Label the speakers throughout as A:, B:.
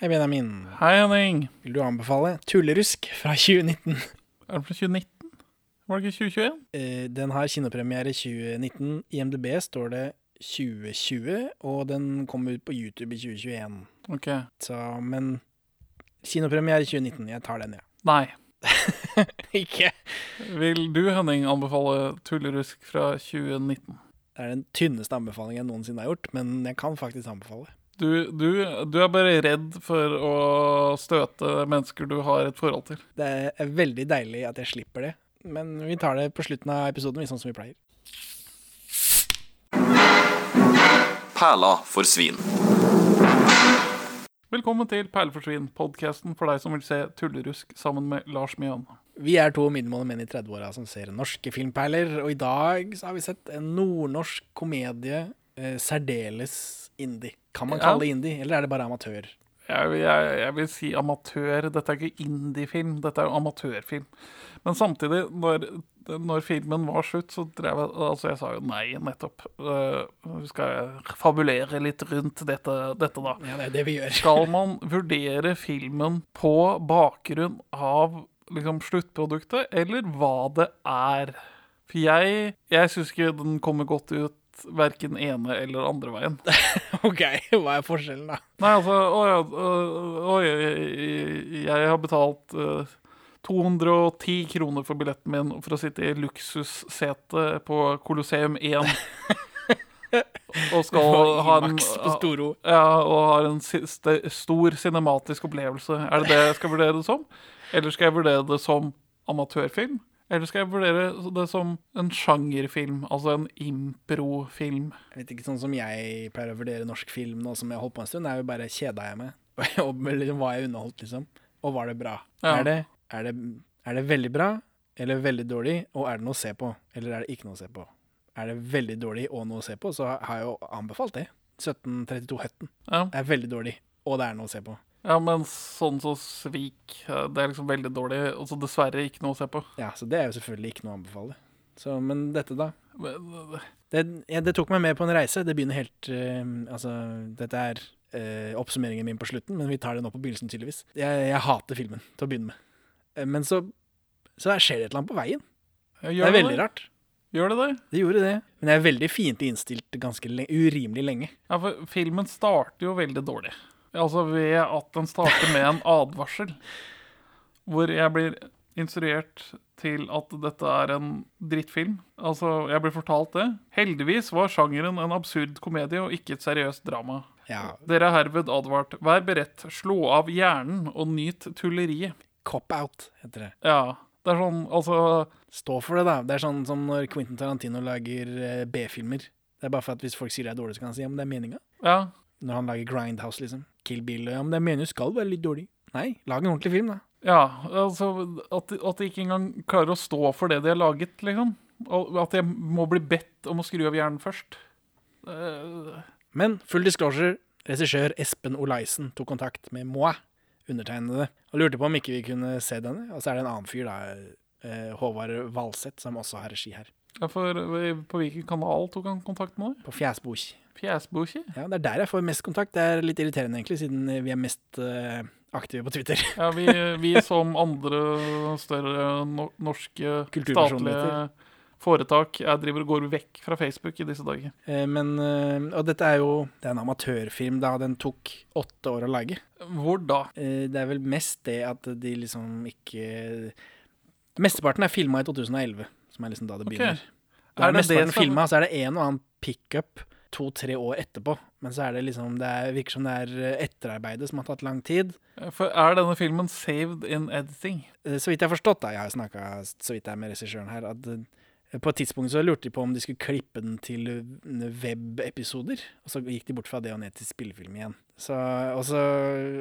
A: Hei, Benjamin.
B: Hei, Henning.
A: Vil du anbefale Tullerusk fra 2019?
B: Er det fra 2019? Var det ikke 2021?
A: Eh, Den har kinopremiere 2019. I MDB står det 2020, og den kom ut på YouTube i 2021.
B: Ok.
A: Så, men kinopremiere 2019. Jeg tar den, jeg.
B: Nei.
A: Ikke?
B: Vil du, Henning, anbefale Tullerusk fra 2019?
A: Det er den tynneste anbefalingen jeg noensinne har gjort, men jeg kan faktisk anbefale.
B: Du, du, du er bare redd for å støte mennesker du har et forhold til.
A: Det er veldig deilig at jeg slipper det, men vi tar det på slutten av episoden, vi, sånn som vi pleier.
C: Perla for svin.
B: Velkommen til Perleforsvinn, podkasten for deg som vil se Tullerusk sammen med Lars Mjøen.
A: Vi er to middelmådige menn i 30-åra som ser norske filmperler, og i dag så har vi sett en nordnorsk komedie, eh, særdeles indie. Kan man
B: Ja.
A: kalle det indie, eller er det bare amatør?
B: Jeg, jeg, jeg vil si amatør. Dette er ikke indie-film, dette er jo amatørfilm. Men samtidig, når, når filmen var slutt, så drev jeg Altså, jeg sa jo nei nettopp. Eh, skal jeg fabulere litt rundt dette, dette da?
A: Ja, det er det vi gjør.
B: Skal man vurdere filmen på bakgrunn av liksom, sluttproduktet, eller hva det er? For jeg, jeg syns ikke den kommer godt ut verken ene eller andre veien.
A: OK, hva er forskjellen, da?
B: Nei, altså Å ja, øh, oi, jeg, jeg har betalt øh, 210 kroner for billetten min for å sitte i luksussete på Colosseum 1. og skal ha en
A: Maks på Storo.
B: ja, og har en si- ste- stor cinematisk opplevelse. Er det det jeg skal vurdere det som? Eller skal jeg vurdere det som amatørfilm? Eller skal jeg vurdere det som en sjangerfilm, altså en improfilm?
A: Jeg vet ikke, sånn som jeg pleier å vurdere norsk film nå som jeg har holdt på en stund, er jo bare kjeda jeg med. Og liksom, var jeg underholdt, liksom? Og var det bra?
B: Ja.
A: Er, det, er, det, er det veldig bra, eller veldig dårlig, og er det noe å se på? Eller er det ikke noe å se på? Er det veldig dårlig og noe å se på, så har jeg jo anbefalt det. 1732 Høtten
B: Ja,
A: er veldig dårlig, og det er noe å se på.
B: ja men sånn som Svik, eh, det er liksom veldig dårlig, og så dessverre ikke noe å se på.
A: Ja, Så det er jo selvfølgelig ikke noe å anbefale. Så, men dette, da?
B: Men, eh,
A: Det, ja, det tok meg med på en reise. Det begynner helt eh, Altså, dette er eh, oppsummeringen min på slutten, men vi tar det nå på begynnelsen, tydeligvis. Jeg, jeg hater filmen til å begynne med. Eh, men så, så skjer det et eller annet på veien. det
B: Gjør
A: er veldig
B: det?
A: rart.
B: Gjør det det?
A: Det gjorde det. Men jeg er veldig fiendtlig innstilt ganske le urimelig lenge.
B: Ja, for filmen starter jo veldig dårlig. Altså ved at den starter med en advarsel. Hvor jeg blir instruert til at dette er en drittfilm. Altså, jeg blir fortalt det. Heldigvis var sjangeren en absurd komedie og ikke et seriøst drama.
A: Ja,
B: Dere er herved advart. Vær beredt. Slå av hjernen og nyt tulleriet.
A: cop-out heter det.
B: Ja, det er sånn, altså
A: Stå for det, da. Det er sånn som når Quentin Tarantino lager eh, B-filmer. Det er bare for at hvis folk sier det er dårlig, så kan han si ja, men det er meninga.
B: Ja.
A: Når han lager Grindhouse, liksom. Kill Bill. Ja, men det mener du skal være litt dårlig. Nei, lag en ordentlig film, da.
B: Ja, altså at, de- at de ikke engang klarer å stå for det de har laget, liksom. Og at jeg må bli bedt om å skru av hjernen først. Eh,
A: Men full disclosure, regissør Espen Olaisen tok kontakt med moi, undertegnede, og lurte på om ikke vi kunne se denne. Og så er det en annen fyr, da, eh, Håvard Valseth, som også har regi her.
B: Ja, for eh, på hvilken kanal tok han kontakt med deg?
A: På Fjesbok.
B: Fjesboki?
A: Ja, det er der jeg får mest kontakt. Det er litt irriterende, egentlig, siden vi er mest eh, aktive på Twitter.
B: Ja, vi, vi som andre større no norske statlige
A: Kulturpersonligheter.
B: foretak jeg driver og går vekk fra Facebook i disse dager.
A: Eh, men eh, Og dette er jo det er en amatørfilm, da. Den tok åtte år å lage.
B: Hvor da?
A: Eh, det er vel mest det at de liksom ikke Mesteparten er filma i 2011, som er liksom da det
B: Ok.
A: begynner.
B: Er
A: Da er
B: det det
A: mesteparten
B: som-
A: filma, så er det en og annen pickup to-tre år etterpå. Men så er det liksom, det er, virker som det er eh, etterarbeidet som har tatt lang tid.
B: For er denne filmen saved in editing?
A: Eh, Så vidt jeg har forstått, da, jeg har snakka så vidt jeg er med regissøren her, at eh, på et tidspunkt så lurte de på om de skulle klippe den til eh, webepisoder. Og så gikk de bort fra det og ned til spillefilm igjen. Så, og, så,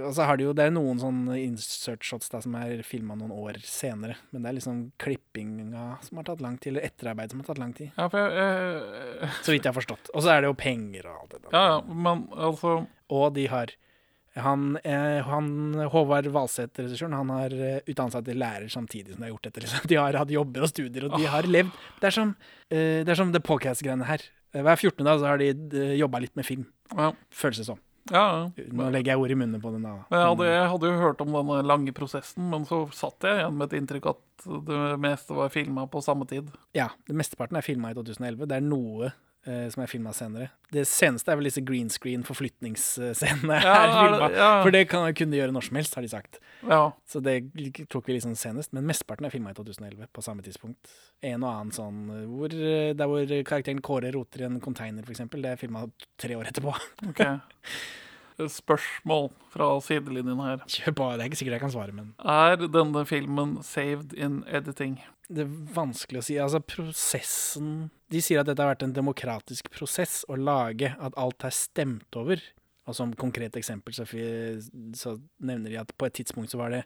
A: og så har de jo Det er noen sånne insert shots da som er filma noen år senere. Men det er liksom klippinga som har tatt lang tid, eller etterarbeid som har tatt lang tid.
B: Ja, for jeg, eh,
A: Så vidt jeg har forstått. Og så er det jo penger og alt det der.
B: ja, ja, men altså
A: Og de har han, eh, han, Håvard Valseth, regissøren, han har eh, utdannet seg til lærer samtidig som de har gjort dette. Liksom. De har hatt jobber og studier, og de har levd. Det er som, eh, det, er som det podcast-greiene her. Eh, Hver 14. dag så har de eh, jobba litt med film,
B: ja.
A: føles det som.
B: Ja,
A: Nå
B: ja.
A: legger jeg ord i munnen på Mm. den, da.
B: Men Jeg hadde, jeg hadde jo hørt om denne lange prosessen, men så satt jeg igjen med et inntrykk at det meste var filma på samme tid.
A: Ja, det Mesteparten er filma i 2011. Det er noe eh, som er filma senere. Det seneste er vel disse green screen-forflytningsscenene.
B: Ja,
A: her
B: er det-
A: filmet.
B: ja.
A: For det kan, kunne de gjøre når som helst, har de sagt.
B: Ja,
A: Så det tok vi liksom senest. Men mesteparten er filma i 2011, på samme tidspunkt. En og annen sånn eh, hvor, eh, Der hvor karakteren Kåre roter i en container, f.eks., det er filma tre år etterpå.
B: ok. Spørsmål fra sidelinjen her.
A: Kjør på. Det er ikke sikkert jeg kan svare, men
B: Er denne filmen saved in editing?
A: det er vanskelig å si. Altså, prosessen De sier at dette har vært en demokratisk prosess å lage, at alt er stemt over. Og som konkret eksempel så, fi- så nevner de at på et tidspunkt så var det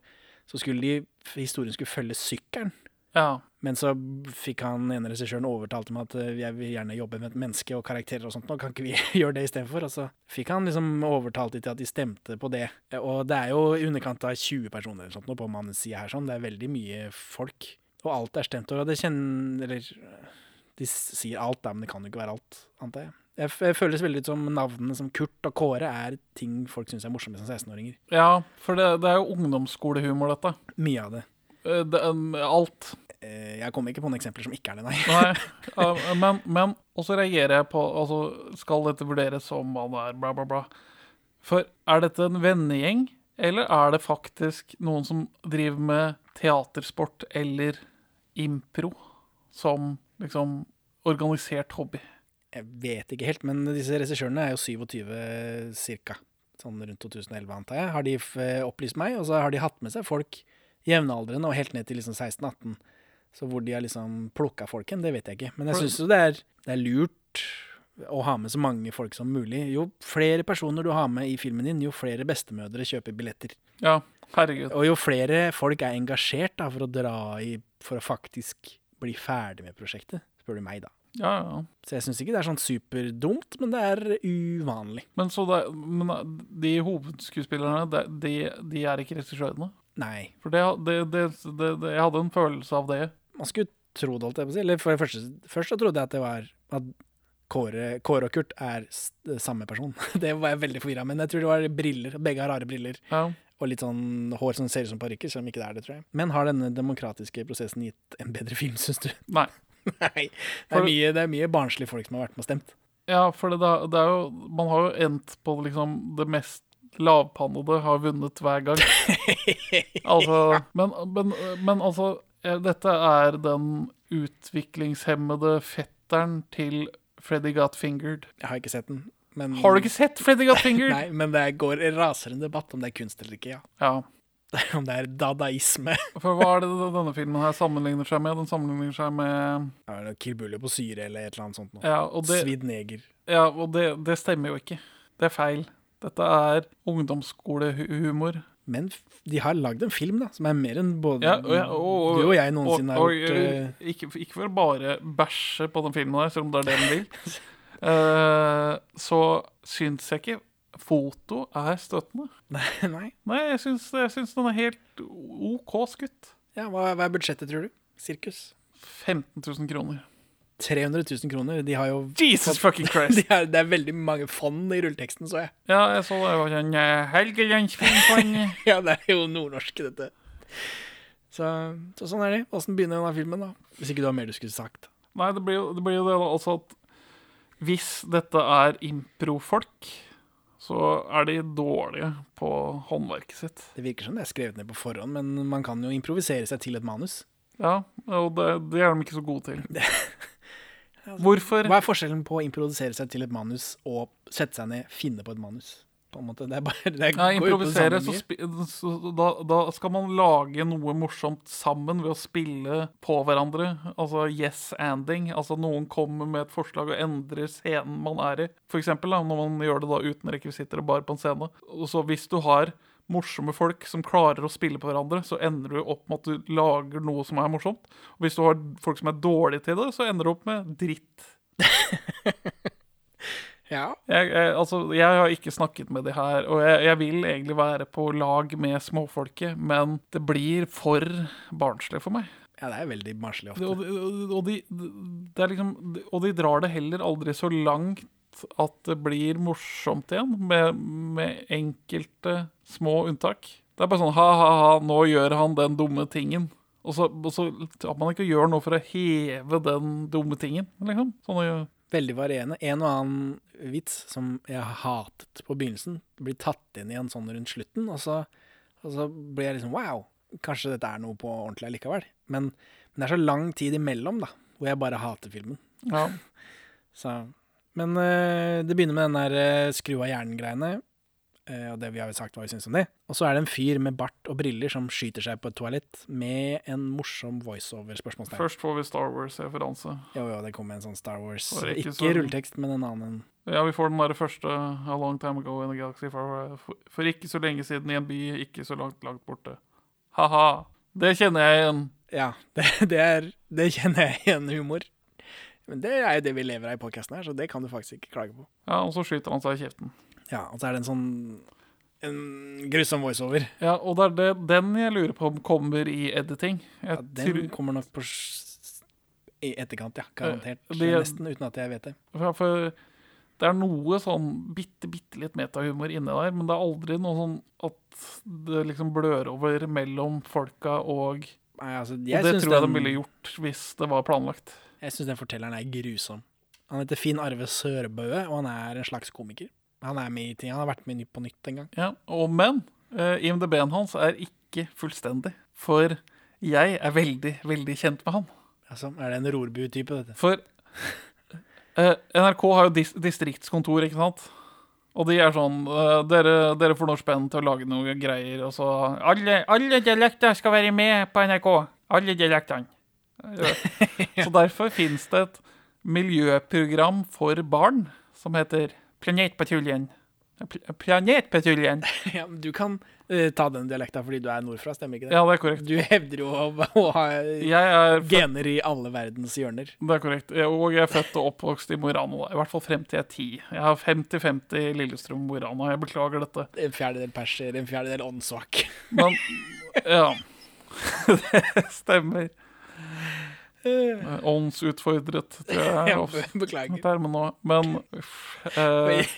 A: Så skulle de Historien skulle følge sykkelen.
B: Ja.
A: Men så fikk han ene regissøren overtalt dem at eh, jeg vil gjerne jobbe med et menneske og karakterer og sånt, nå kan ikke vi gjøre det istedenfor? Og så fikk han liksom overtalt dem til at de stemte på det. Og det er jo i underkant av 20 personer eller sånt nå på mannssida her, sånn. Det er veldig mye folk. Og alt er stemt over. Og det kjenner Eller de sier alt, da, men det kan jo ikke være alt, antar jeg. Jeg f- jeg føles veldig ut som navnene som Kurt og Kåre er ting folk syns er morsomme som 16-åringer.
B: Ja, for det, det er jo ungdomsskolehumor, dette.
A: Mye av det.
B: Eh, Det, um, alt.
A: Eh, Jeg kommer ikke på noen eksempler som ikke er det, nei.
B: Nei, eh, men, men Og så reagerer jeg på Altså, skal dette vurderes som hva det er, bla, bla, bla. For er dette en vennegjeng, eller er det faktisk noen som driver med teatersport eller impro som liksom organisert hobby?
A: Jeg vet ikke helt, men disse regissørene er jo 27 cirka. Sånn rundt 2011, antar jeg. Har de f eh, opplyst meg, og så har de hatt med seg folk jevnaldrende og helt ned til liksom 16-18. Så hvor de har liksom plukka folk hen, det vet jeg ikke. Men jeg
B: For-
A: syns jo det er, det er lurt å ha med så mange folk som mulig. Jo flere personer du har med i filmen din, jo flere bestemødre kjøper billetter.
B: Ja, herregud.
A: Og jo flere folk er engasjert da, for å dra i For å faktisk bli ferdig med prosjektet, spør du meg, da.
B: Ja, ja.
A: Så jeg syns ikke det er sånn superdumt, men det er uvanlig.
B: Men så det, men de hovedskuespillerne, de, de, de er ikke regissørene?
A: Nei.
B: For det, det, det, det, det, jeg hadde en følelse av det.
A: Man skulle tro det, holdt jeg på å si. Eller for det første, først så trodde jeg at det var at Kåre, Kåre og Kurt er s samme person. Det var jeg veldig forvirra, men jeg tror det var briller. Begge har rare briller.
B: Ja.
A: Og litt sånn hår som ser ut som parykker, selv om ikke det er det, tror jeg. Men har denne demokratiske prosessen gitt en bedre film, syns du?
B: Nei.
A: Nei. Det
B: For-
A: er mye, det er mye barnslige folk som har vært med og stemt.
B: Ja, for det, da- det er jo Man har jo endt på liksom det mest lavpannede har vunnet hver gang. Altså Men, men, men altså eh, Dette er den utviklingshemmede fetteren til Freddy Got Fingered.
A: Jeg har ikke sett den. Men,
B: Har du ikke sett Freddy Got Fingered?
A: Nei, men det går raser en debatt om det er kunst eller ikke, ja.
B: Ja.
A: Om det er dadaisme.
B: For hva er det denne filmen her sammenligner seg med? Den sammenligner seg med
A: Ja, eller Kill Bully på syre eller et eller annet sånt noe.
B: Ja, og det,
A: Svidd neger.
B: ja, og det, det stemmer jo ikke. Det er feil. Dette er ungdomsskolehumor.
A: Men f- de har lagd en film, da, som er mer enn både
B: Ja, og jeg- og- og-
A: du og jeg noensinne
B: og-
A: har gjort.
B: og,
A: eh,
B: ikke, ikke for å bare bæsje på den filmen her, selv om det er det den vil. Eh, så syns jeg ikke foto er støtende.
A: nei, nei.
B: Nei, jeg syns, jeg syns den er helt OK skutt.
A: Ja, hva, hva er budsjettet, tror du? Sirkus?
B: 15 000 kroner.
A: 300 000 kroner. De har jo
B: Jesus fucking Christ!
A: de har, Det er veldig mange fond i rulleteksten, så jeg.
B: Ja, jeg så det. Jeg var sånn eh, Helgelandsfilmfond.
A: Ja, det er jo nordnorsk, dette. Så, så sånn er det. Åssen begynner denne filmen, da? Hvis ikke du har mer du skulle sagt.
B: Nei, det blir, jo- det blir jo det da, altså at hvis dette er improfolk, så er de dårlige på håndverket sitt.
A: Det virker som det er skrevet ned på forhånd, men man kan jo improvisere seg til et manus.
B: Ja, og det, det er de ikke så gode til. Hvorfor?
A: Altså, Hva er forskjellen på å improvisere seg til et manus og sette seg ned, finne på et manus? På en måte, det er bare, det
B: Ja,
A: går jo på det
B: improvisere,
A: samme
B: så
A: mye.
B: spi, så da, da skal man lage noe morsomt sammen ved å spille på hverandre. Altså yes-anding. Altså noen kommer med et forslag og endrer scenen man er i. For eksempel da, når man gjør det da uten rekvisitter og bare på en scene. Og så hvis du har morsomme folk som klarer å spille på hverandre, så ender du opp med at du lager noe som er morsomt. Og hvis du har folk som er dårlige til det, så ender du opp med dritt.
A: Ja,
B: Jeg, jeg, altså, jeg har ikke snakket med de her, og jeg, jeg vil egentlig være på lag med småfolket, men det blir for barnslig for meg.
A: ja, det er veldig marselig
B: Det-
A: ofte.
B: Og, og, og, de, det er liksom, og de drar det heller aldri så langt vet at det blir morsomt igjen, med, med enkelte små unntak. Det er bare sånn ha-ha-ha, nå gjør han den dumme tingen. Og så, og så at man ikke gjør noe for å heve den dumme tingen, liksom. Sånn å gjøre
A: Veldig varierende. En og annen vits som jeg hatet på begynnelsen, blir tatt inn igjen sånn rundt slutten, og så, og så blir jeg liksom wow, kanskje dette er noe på ordentlig likevel. Men, men det er så lang tid imellom, da, hvor jeg bare hater filmen.
B: ja.
A: Så. Men eh, det begynner med den der eh, skru av hjernen-greiene, eh, og det vi har jo sagt hva vi syns om det. Og så er det en fyr med bart og briller som skyter seg på et toalett med en morsom voiceover-spørsmålstegn.
B: Først får vi Star Wars-referanse.
A: Jo, jo, det kom en sånn Star Wars
B: Var det
A: Ikke,
B: ikke sånn? så-
A: rulletekst, men en annen.
B: Ja, vi får den der første A long time ago in a galaxy far, for, for ikke så lenge siden i en by ikke så langt, langt borte. Ha-ha. Det kjenner jeg igjen.
A: Ja, det, det, er, det kjenner jeg igjen humor. Men det er jo det vi lever av i podkasten her, så det kan du faktisk ikke klage på.
B: Ja, Og så skyter han seg i kjeften.
A: Ja, Og så er det en sånn en grusom voiceover.
B: Ja, Og det er det, den jeg lurer på om kommer i editing. Jeg
A: Ja,
B: tror,
A: den kommer nok på s- i etterkant, ja. Garantert.
B: Eh, det-
A: Nesten uten at jeg vet det.
B: for, for det er noe sånn bitte, bitte litt metahumor inni der, men det er aldri noe sånn at det liksom blør over mellom folka, og,
A: Nei, altså,
B: og
A: jeg
B: det
A: syns
B: tror jeg
A: den-
B: de ville gjort hvis det var planlagt.
A: Jeg syns den fortelleren er grusom. Han heter Finn Arve Sørbøe, og han er en slags komiker. Han er med i ting, han har vært med i Nytt på nytt en gang.
B: Ja, og men eh, IMDb-en hans er ikke fullstendig. For jeg er veldig, veldig kjent med han.
A: Altså, er det en Rorbu-type, dette?
B: For eh, NRK har jo dis distriktskontor, ikke sant? Og de er sånn eh, dere, dere får nå spenn til å lage noe greier, og så Alle, alle dialekter skal være med på NRK! Alle dialektene. Ja. Så derfor fins det et miljøprogram for barn som heter Planetpatruljen. Pl Planetpatruljen!
A: ja, men du kan eh, ta den dialekta fordi du er nordfra, stemmer ikke det?
B: Ja, det er korrekt.
A: Du hevder jo å, å ha
B: Jeg er
A: gener i alle verdens hjørner.
B: Det er korrekt. Jeg- Og jeg er født og oppvokst i Mo i Rana. da. I hvert fall frem til jeg er ti. Jeg har 50-50 Lillestrøm Mo i Rana. Jeg beklager dette.
A: En fjerdedel perser, en fjerdedel åndssvak.
B: Men ja. Det stemmer.
A: Eh,
B: Eh, Åndsutfordret, tror jeg. er
A: ja,
B: ofte
A: Beklager.
B: termen nå. Men uff, eh,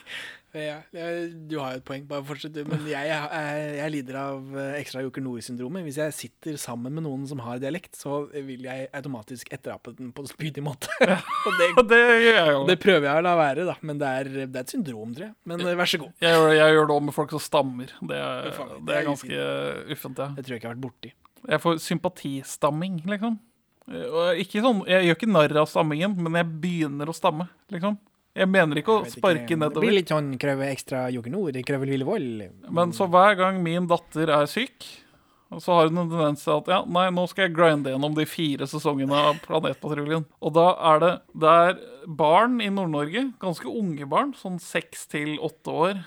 A: Ja, ja, du har jo et poeng, bare fortsett du. Men jeg, jeg, jeg lider av eh, ekstra joker nord-syndromet. Hvis jeg sitter sammen med noen som har dialekt, så vil jeg automatisk etterape den på en spydig måte. og det,
B: Og det gjør jeg jo.
A: det prøver jeg å la være, da. Men det er, det er et syndrom, tror jeg. Men eh, vær så god.
B: Jeg gjør, jeg gjør det òg med folk som stammer. Det
A: Ja,
B: er,
A: faen,
B: det
A: det
B: er
A: er
B: ganske uffent, ja.
A: Det tror jeg ikke jeg har vært borti.
B: Jeg får sympatistamming, liksom. Eh, Og ikke sånn, jeg gjør ikke narr av stammingen, men jeg begynner å stamme, liksom. Jeg mener ikke å
A: Jeg vet ikke,
B: sparke
A: men Det
B: nedover.
A: blir litt sånn krøve ekstra joker nord, krøve lille vold.
B: Men så hver gang min datter er syk, og så har hun en tendens til at ja, nei, nå skal jeg grinde gjennom de fire sesongene av Planetpatruljen. Og da er det, det er barn i Nord-Norge, ganske unge barn, sånn seks til åtte år.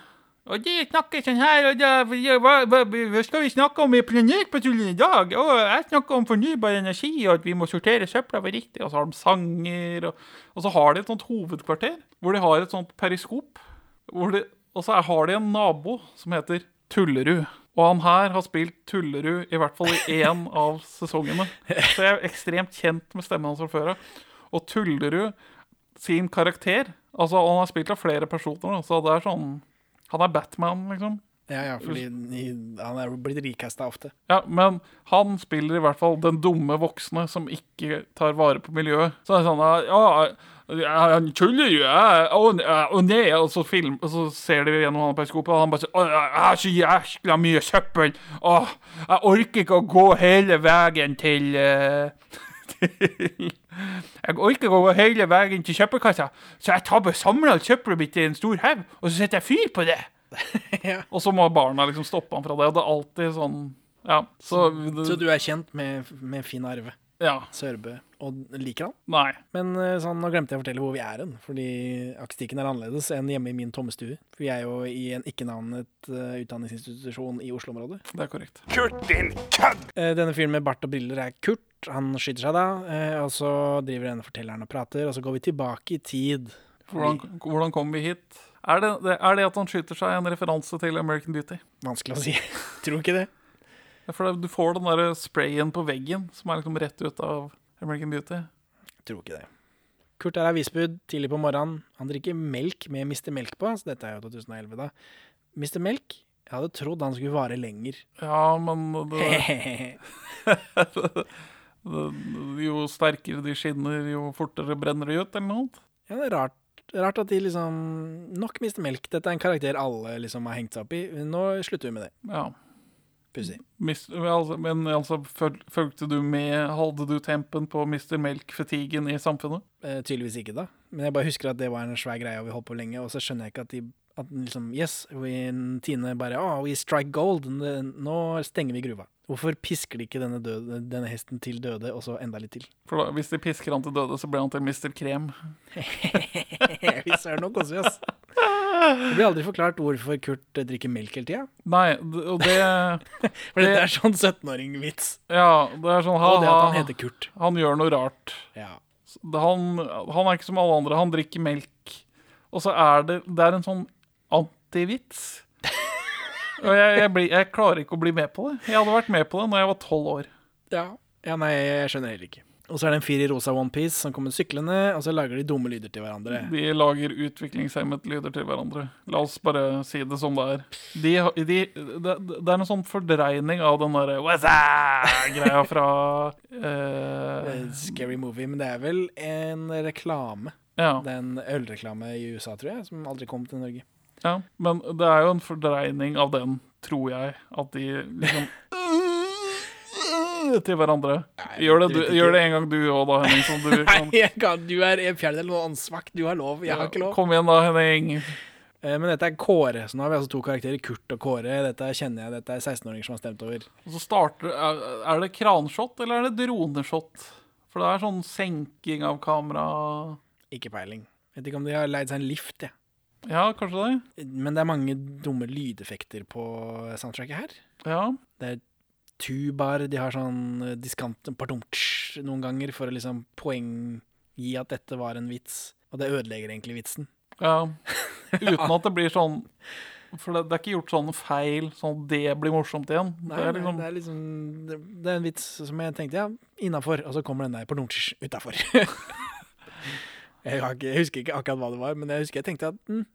B: Og de snakker sånn her, og da, hva, hva, hva skal vi snakke om i Planetpatruljen i dag? Og jeg snakker om fornybar energi, og at vi må sortere søpla vår riktig, og så har de sanger, og, og så har de et sånt hovedkvarter, hvor de har et sånt periskop hvor de, og så har de en nabo som heter Tullerud. Og han her har spilt Tullerud i hvert fall i én av sesongene. Så jeg er ekstremt kjent med stemmen hans fra før av. Og Tullerud sin karakter Altså, og han har spilt av flere personer, da, så det er sånn Han er Batman, liksom.
A: Ja, ja, fordi i- han er jo blitt rikasta ofte.
B: Ja, men han spiller i hvert fall den dumme voksne som ikke tar vare på miljøet. Så det er sånn ja, ja, Han tuller jo, ja, å, ja, å nei, og så, film, og så ser de gjennom han periskopet, og han bare sånn «Å, Jeg har så jæskla mye søppel! Åh, jeg orker ikke å gå hele veien til eh, til Jeg orker ikke å gå hele veien til søppelkassa, så jeg tar bare samler alt søppelet mitt i en stor haug, og så setter jeg fyr på det!
A: ja.
B: Og så må barna liksom stoppe han fra det, og det er alltid sånn ja, så,
A: Så du er kjent med, med Finn Arve
B: ja.
A: Sørbø, og liker han?
B: Nei.
A: Men eh, sånn, nå glemte jeg å fortelle hvor vi er hen, fordi akustikken er annerledes enn hjemme i min tomme stue. For vi er jo i en ikke-navnet eh, utdanningsinstitusjon i Oslo-området.
B: Det er korrekt.
A: Eh, Denne fyren med bart og briller er Kurt. Han skyter seg da, eh, og så driver denne fortelleren og prater, og så går vi tilbake i tid.
B: Hvordan, hvordan kom vi hit? Er det, det, er det at han skyter seg en referanse til American Beauty?
A: Vanskelig å si. Tror ikke det.
B: For det, Du får den der sprayen på veggen som er liksom rett ut av American Beauty.
A: Tror ikke det. Kurt er avisbud tidlig på morgenen. Han drikker melk med Mr. Melk på, så dette er jo 2011, da. Mr. Melk, jeg hadde trodd han skulle vare lenger.
B: Ja, men det,
A: ja,
B: det, jo sterkere de skinner, jo fortere brenner de ut, eller noe annet.
A: det er rart. Rart at de liksom Nok Mr. Melk. Dette er en karakter alle liksom har hengt seg opp i. Nå slutter vi med det.
B: Ja.
A: Pussig.
B: Mis- men altså- Men altså, føl, fulgte du med, holdt du tempen på Mr. Melk-fatigen i samfunnet?
A: Eh, tydeligvis ikke, da. Men jeg bare husker at det var en svær greie, og vi holdt på lenge. Og så skjønner jeg ikke at de at den liksom, Yes, we, Tine bare oh, We strike gold. N- Nå stenger vi gruva. Hvorfor pisker de ikke denne, døde, denne hesten til døde, og så enda litt til?
B: For da, hvis de pisker han til døde, så blir han til Mr. Krem.
A: Fy søren, nå koser vi oss. Det blir aldri forklart hvorfor Kurt eh, drikker melk hele tida.
B: Nei, d- og det
A: For dette
B: Det-
A: er sånn 17-åring-vits.
B: Ja, det er sånn
A: Og det at han
B: ha-ha.
A: heter Kurt.
B: Han gjør noe rart.
A: Ja.
B: Så det- Han, han er ikke som alle andre. Han drikker melk. Og så er det Det er en sånn antivits. Og jeg, jeg, blir, jeg klarer ikke å bli med på det. Jeg hadde vært med på det når jeg var tolv år.
A: Ja. ja, nei, jeg skjønner heller ikke. Og så er det en fyr i rosa onepiece som kommer syklende, og så lager de dumme lyder til hverandre.
B: De lager utviklingshemmet lyder til hverandre. La oss bare si det som det er. De, har- de, det, det er en sånn fordreining av den derre What's up?-greia fra
A: Det er
B: eh,
A: en Scary movie, men det er vel en reklame.
B: ja,
A: Det er en ølreklame i USA, tror jeg, som aldri kom til Norge.
B: ja. Men det er jo en fordreining av den, tror jeg, at de liksom til hverandre. Gjør det, du,
A: jeg vet ikke.
B: gjør det en gang du òg, da, Henning. Som du liksom-
A: Nei,
B: kan.
A: jeg kan, du er en fjerdedel av noen åndssvakt. Du har lov. Jeg har ikke lov.
B: Kom igjen, da, Henning.
A: Eh, Men dette er Kåre, så nå har vi altså to karakterer. Kurt og Kåre. Dette kjenner jeg, dette er 16-åringer som har stemt over.
B: Og så starter Er, er det kranshot, eller er det droneshot? For det er sånn senking av kamera
A: Ikke peiling. Vet ikke om de har leid seg en lift, jeg.
B: Ja, kanskje det?
A: Men det er mange dumme lydeffekter på soundtracket her.
B: Ja.
A: Tubar, de har sånn eh, diskant partumtsj noen ganger for å liksom poenggi at dette var en vits. Og det ødelegger egentlig vitsen.
B: ja. Uten at det blir sånn For det, det er ikke gjort sånn feil, sånn at det blir morsomt igjen.
A: Nei,
B: det er liksom
A: det er liksom det, det er en vits som jeg tenkte ja, innafor, og så kommer den der på lunsj utafor. jeg, har ikke- jeg husker ikke akkurat hva det var, men jeg husker jeg tenkte at mm,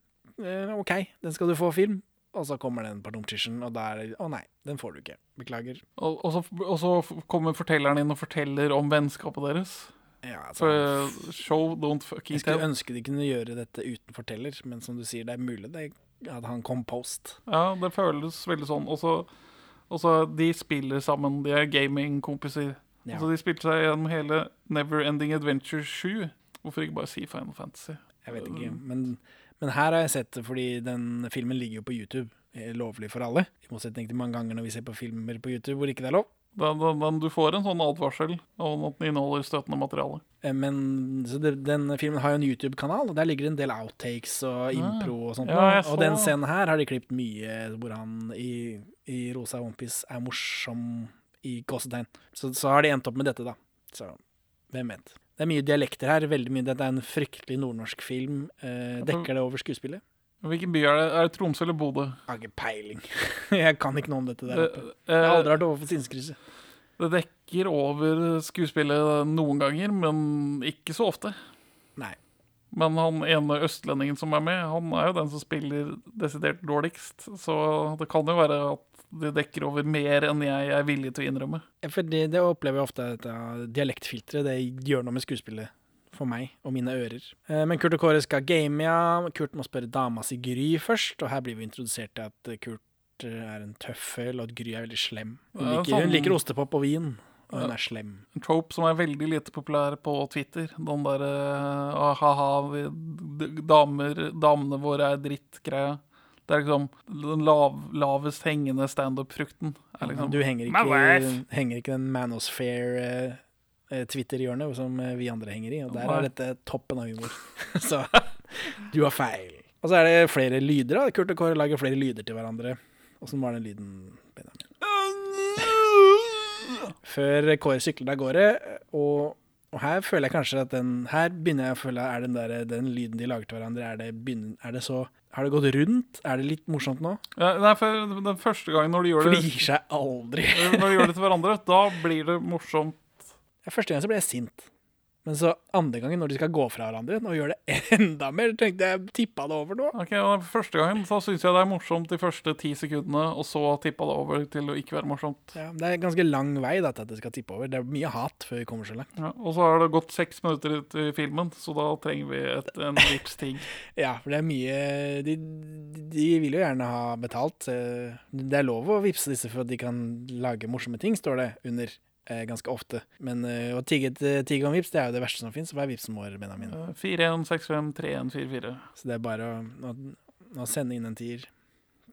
A: eh, OK, den skal du få film. Og så kommer den på lunsjen, og da er det Å nei, den får du ikke. Beklager.
B: og, og, så, og så f- kommer fortelleren inn og forteller om vennskapet deres.
A: Ja, altså,
B: For eh, uh, show don't fucking
A: jeg skulle
B: tell.
A: ønske de kunne gjøre dette uten forteller, men som du sier, det er mulig det, at han kom post.
B: Ja, det føles veldig sånn. Og så, og så de spiller sammen. De er gamingkompiser.
A: Ja.
B: Så de spilte seg gjennom hele Neverending Adventure 7. Hvorfor ikke bare si Final Fantasy?
A: Jeg vet ikke, men, men her har jeg sett det, fordi den filmen ligger jo på YouTube. eh, Lovlig for alle. I motsetning til mange ganger når vi ser på filmer på YouTube hvor ikke det er lov.
B: Den, den, den, du får en sånn advarsel om at den inneholder støtende materiale.
A: Eh, Men så det, den filmen har jo en YouTube-kanal, og der ligger det en del outtakes og impro og sånt.
B: Ah. Ja,
A: nå.
B: jeg så-
A: og den scenen her har de klippet mye hvor han i, i rosa onepiece er morsom i gåsetegn. Så, så har de endt opp med dette, da. Så hvem vet. Det er mye dialekter her. veldig mye. Dette er en fryktelig nordnorsk film. Eh, dekker det over skuespillet?
B: Hvilken by er det? Er det Tromsø eller Bodø?
A: Jeg har ikke peiling. jeg kan ikke noe om dette der
B: Det,
A: oppe. Jeg har
B: eh,
A: aldri vært overfor sinnskrysset.
B: det dekker over skuespillet noen ganger, men ikke så ofte.
A: Nei.
B: Men han ene østlendingen som er med, han er jo den som spiller desidert dårligst. Så det kan jo være at det dekker over mer enn jeg er villig til å innrømme.
A: Ja, For det, det opplever jeg ofte, dette dialektfilteret. Det gjør noe med skuespillet for meg og mine ører. Eh, Men Kurt og Kåre skal game, ja. Kurt må spørre dama si Gry først, og her blir vi introdusert til at eh, Kurt eh, er en tøffel, og at Gry er veldig slem. Hun
B: Ja,
A: liker,
B: sånn-
A: hun liker ostepop og vin, og
B: Ja.
A: hun er slem.
B: en trope som er veldig lite populær på Twitter. Den eh, derre ha-ha, damer, damene våre er dritt-greia. Det er liksom den lav, lavest hengende standup-frukten. er
A: Men
B: Liksom.
A: Du henger
B: My
A: ikke,
B: wife!
A: henger ikke den manosphere eh, eh, Twitter-hjørnet som eh, vi andre henger i, og der
B: Nei.
A: er dette toppen av humor. Så du har feil. Og så er det flere lyder. da. Kurt og Kåre lager flere lyder til hverandre. Åssen var den lyden, Benjamin? Før Kåre sykler av gårde, og, og her føler jeg kanskje at den Her begynner jeg å føle Er den, der, den lyden de lager til hverandre, er det, begynn- er det så Har det gått rundt? Er det litt morsomt nå?
B: Ja, nei, for den første gangen når de gjør
A: For
B: det,
A: de gir seg aldri.
B: når de gjør det til hverandre, da blir det morsomt.
A: Ja, Første gang så ble jeg sint. Men så andre gangen, når de skal gå fra hverandre, nå gjør det enda mer. Tenkte jeg tippa det over nå.
B: Ok, og Første gangen så syns jeg det er morsomt de første ti sekundene, og så tippa det over til å ikke være morsomt.
A: Ja, det er ganske lang vei da, til at det skal tippe over. Det er mye hat før vi kommer så langt.
B: Ja, og så har det gått seks minutter ut i filmen, så da trenger vi et, en livsting.
A: Ja, for det er mye De, de vil jo gjerne ha betalt. eh, Det er lov å vippse disse for at de kan lage morsomme ting, står det under eh, ganske ofte. Men eh, å tigge, et- tigge om vips, det er jo det verste som fins. Hva er vipsen vår, Benjamin?
B: Eh, 41653144.
A: Så det er bare å, å, å sende inn en tier.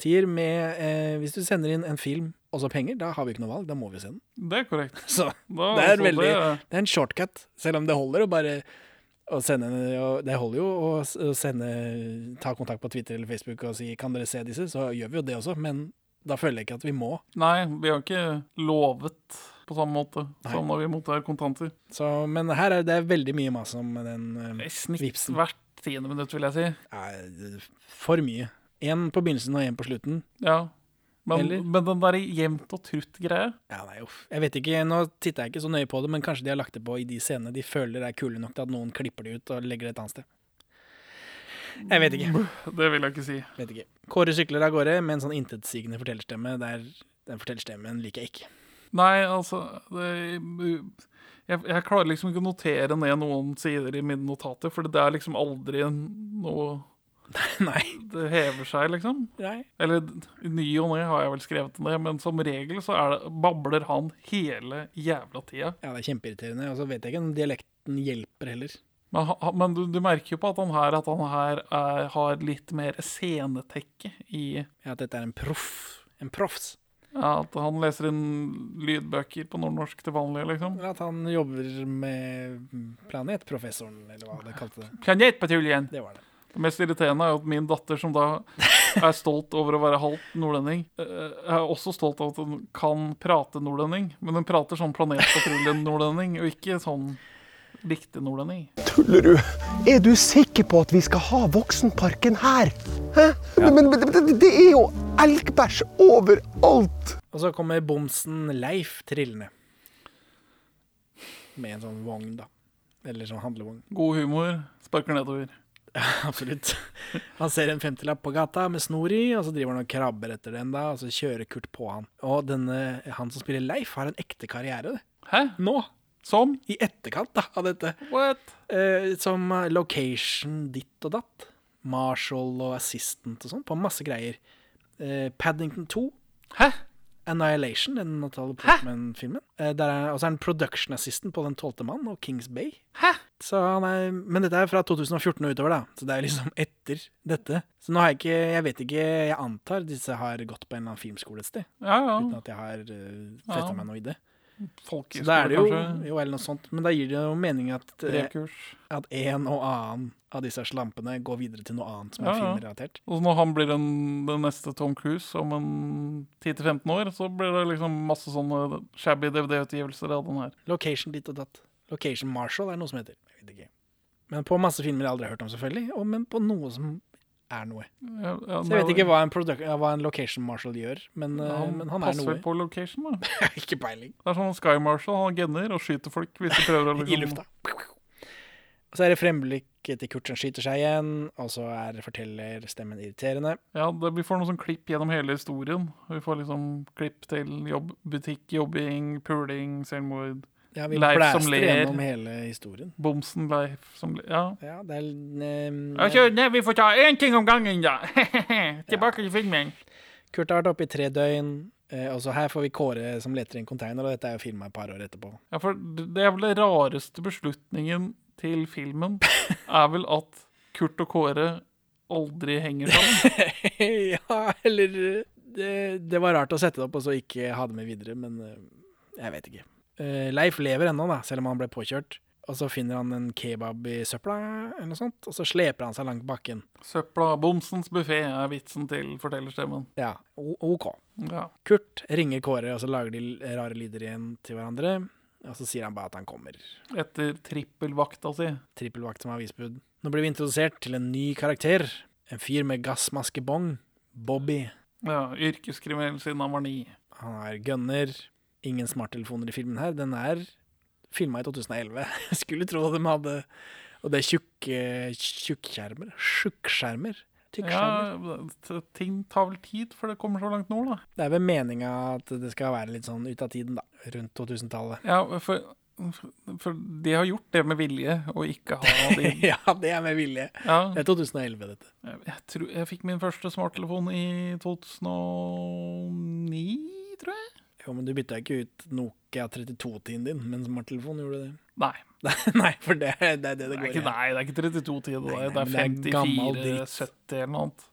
A: Tier med eh, Hvis du sender inn en film og så penger, da har vi ikke noe valg. Da må vi se den.
B: Det er korrekt.
A: Så
B: Da,
A: Det er
B: altså,
A: veldig-
B: det-
A: det er en shortcut, selv om det holder å bare å sende, å- Det holder jo å s- å sende Ta kontakt på Twitter eller Facebook og si 'Kan dere se disse?' Så gjør vi jo det også, men da føler jeg ikke at vi må.
B: Nei, vi har ikke lovet på samme måte
A: Nei.
B: som når vi mottar kontanter.
A: Så, men her er det veldig mye mas om den
B: I
A: eh,
B: snitt
A: Vipsen.
B: hvert tiende minutt, vil jeg si.
A: er For mye. Én på begynnelsen og én på slutten.
B: Ja. Men,
A: Eller?
B: men den der jevnt og trutt-greia
A: Ja, nei, uff. Jeg vet ikke, Nå titter jeg ikke så nøye på det, men kanskje de har lagt det på i de scenene de føler er kule nok til at noen klipper det ut og legger det et annet sted. Jeg vet ikke.
B: Det vil jeg ikke si.
A: vet ikke. Kåre sykler av gårde med en sånn intetsigende fortellerstemme. Der den fortellerstemmen liker jeg ikke.
B: Nei, altså det, jeg, jeg klarer liksom ikke å notere ned noen sider i mine notater, for det er liksom aldri noe
A: nei,
B: Det hever seg, liksom.
A: nei.
B: Eller i ny og ne har jeg vel skrevet ned, men som regel så er det, babler han hele jævla tida.
A: Ja, det er kjempeirriterende. Og så vet jeg ikke om dialekten hjelper heller.
B: Men, ha- ha- men du, du merker jo på at han her, at han her er, har litt mer scenetekke i
A: Ja, At dette er en proff. En proffs.
B: ja, At han leser inn lydbøker på nordnorsk til vanlig, liksom.
A: Eller at han jobber med Planetprofessoren, eller hva det kalte det.
B: Kan jeg hjelpe til igjen?
A: Det var det.
B: Det mest irriterende er jo at min datter, som da er stolt over å være halvt nordlending, eh, er også stolt av at hun kan prate nordlending. Men hun prater sånn Planetpatruljen-nordlending, og ikke sånn riktig nordlending.
D: Tullerud, er du sikker på at vi skal ha Voksenparken her? Hæ? Men, men, men det- det er jo elgbæsj overalt!
A: Og så kommer bomsen Leif trillende. Med en sånn vogn, da. Eller sånn handlevogn.
B: God humor, sparker nedover.
A: Absolutt. Han ser en femtilapp på gata med snor i, og så driver han og krabber etter den, da, og så kjører Kurt på han. Og denne, han som spiller Leif, har en ekte karriere, det.
B: Hæ?
A: Nå,
B: Som?
A: i etterkant da, av dette.
B: What?
A: Eh, som eh, location ditt og datt. Marshall og assistant og sånn, på masse greier. Eh, Paddington 2,
B: Hæ?
A: Annihilation, den Natalie Portman-filmen. Eh, der er- Og så er han production assistant på Den tolvte mann og Kings Bay.
B: Hæ?
A: Så han er, men dette er fra 2014 og utover, da. Så det er liksom etter dette. Så nå har jeg ikke Jeg vet ikke, jeg antar disse har gått på en eller annen filmskole et sted.
B: Ja, ja.
A: Uten at jeg har uh, festa
B: Ja.
A: meg noe i det. Så
B: Folkehøyskole,
A: da er det jo,
B: kanskje.
A: jo eller noe sånt. Men da gir det jo mening at, eh,
B: Brevkurs.
A: at en og annen av disse slampene går videre til noe annet som er
B: Ja, ja.
A: filmrelatert.
B: Og når han blir den, den neste Tom Cruise om en 10-15 år, så blir det liksom masse sånne shabby DVD-utgivelser av den her.
A: Location ditt og datt. Location Marshall er noe som heter. Jeg vet ikke. Men på masse filmer jeg aldri har hørt om, selvfølgelig. Og, men på noe som er noe.
B: Ja, ja,
A: Så jeg vet
B: nei,
A: ikke hva en, produc- ja, hva en location marshal gjør, men, eh,
B: Han,
A: men han er
B: passer
A: noe.
B: vel på location, da.
A: Jeg har ikke peiling.
B: Det er sånn Sky Marshal, han gunner og skyter folk hvis de prøver å liksom
A: I lufta. Og så er det fremblikket til Kurt som skyter seg igjen, og så er fortellerstemmen irriterende.
B: Ja, det, vi får noen sånn klipp gjennom hele historien. Vi får liksom klipp til jobb, butikk, jobbing, puling, selvmord,
A: Ja, vi
B: Leif som
A: blæster
B: ler.
A: gjennom hele historien.
B: bomsen, Leif som Ja.
A: Ja, det er ehm,
B: Ja, så, nei, vi får ta én ting om gangen, da. Tilbake til filmen.
A: Kurt har vært oppe i tre døgn, eh, og så her får vi Kåre som leter i en container, og dette er jo filma et par år etterpå.
B: Ja, for det er vel den rareste beslutningen til filmen er vel at Kurt og Kåre aldri henger sammen.
A: ja, eller eh, det, det var rart å sette det opp og så ikke ha det med videre, men eh, jeg vet ikke. Eh, Leif lever ennå, da, selv om han ble påkjørt. Og så finner han en kebab i søpla, eller noe sånt, og så sleper han seg langt bakken.
B: Søpla bomsens buffé er vitsen til fortellerstemmen.
A: Ja, o- OK.
B: Ja.
A: Kurt ringer Kåre, og så lager de l- rare lyder igjen til hverandre. Og så sier han bare at han kommer.
B: Etter trippelvakta si.
A: Trippelvakt som avisbud. Nå blir vi introdusert til en ny karakter. En fyr med gassmaskebong. Bobby.
B: Ja, Yrkeskriminell siden han var ni.
A: Han er gunner. Ingen smarttelefoner i filmen her. Den er Filma i 2011. Skulle tro de hadde Og det er tjukke tjukkskjermer. Tjukkskjermer. Tykkskjermer.
B: Ja, t- ting tar vel tid før det kommer så langt nord, da.
A: Det er vel meninga at det skal være litt sånn ut av tiden, da. Rundt 2000-tallet.
B: Ja, for, for de har gjort det med vilje å ikke ha de
A: ja, det er med vilje.
B: Ja,
A: Det er 2011, dette.
B: jeg, jeg, tror, jeg fikk min første smarttelefon i 2009, tror jeg.
A: Jo, men du bytta ikke ut Nokia 32-tiden din med en smarttelefon, gjorde du det?
B: Nei,
A: Nei, for det, er- det er det det
B: det er
A: går i.
B: ikke, nei, det er ikke 3210, det,
A: Nei, nei,
B: der, det
A: men det er
B: er
A: gammel
B: 54,
A: dritt.
B: 70 eller noe annet.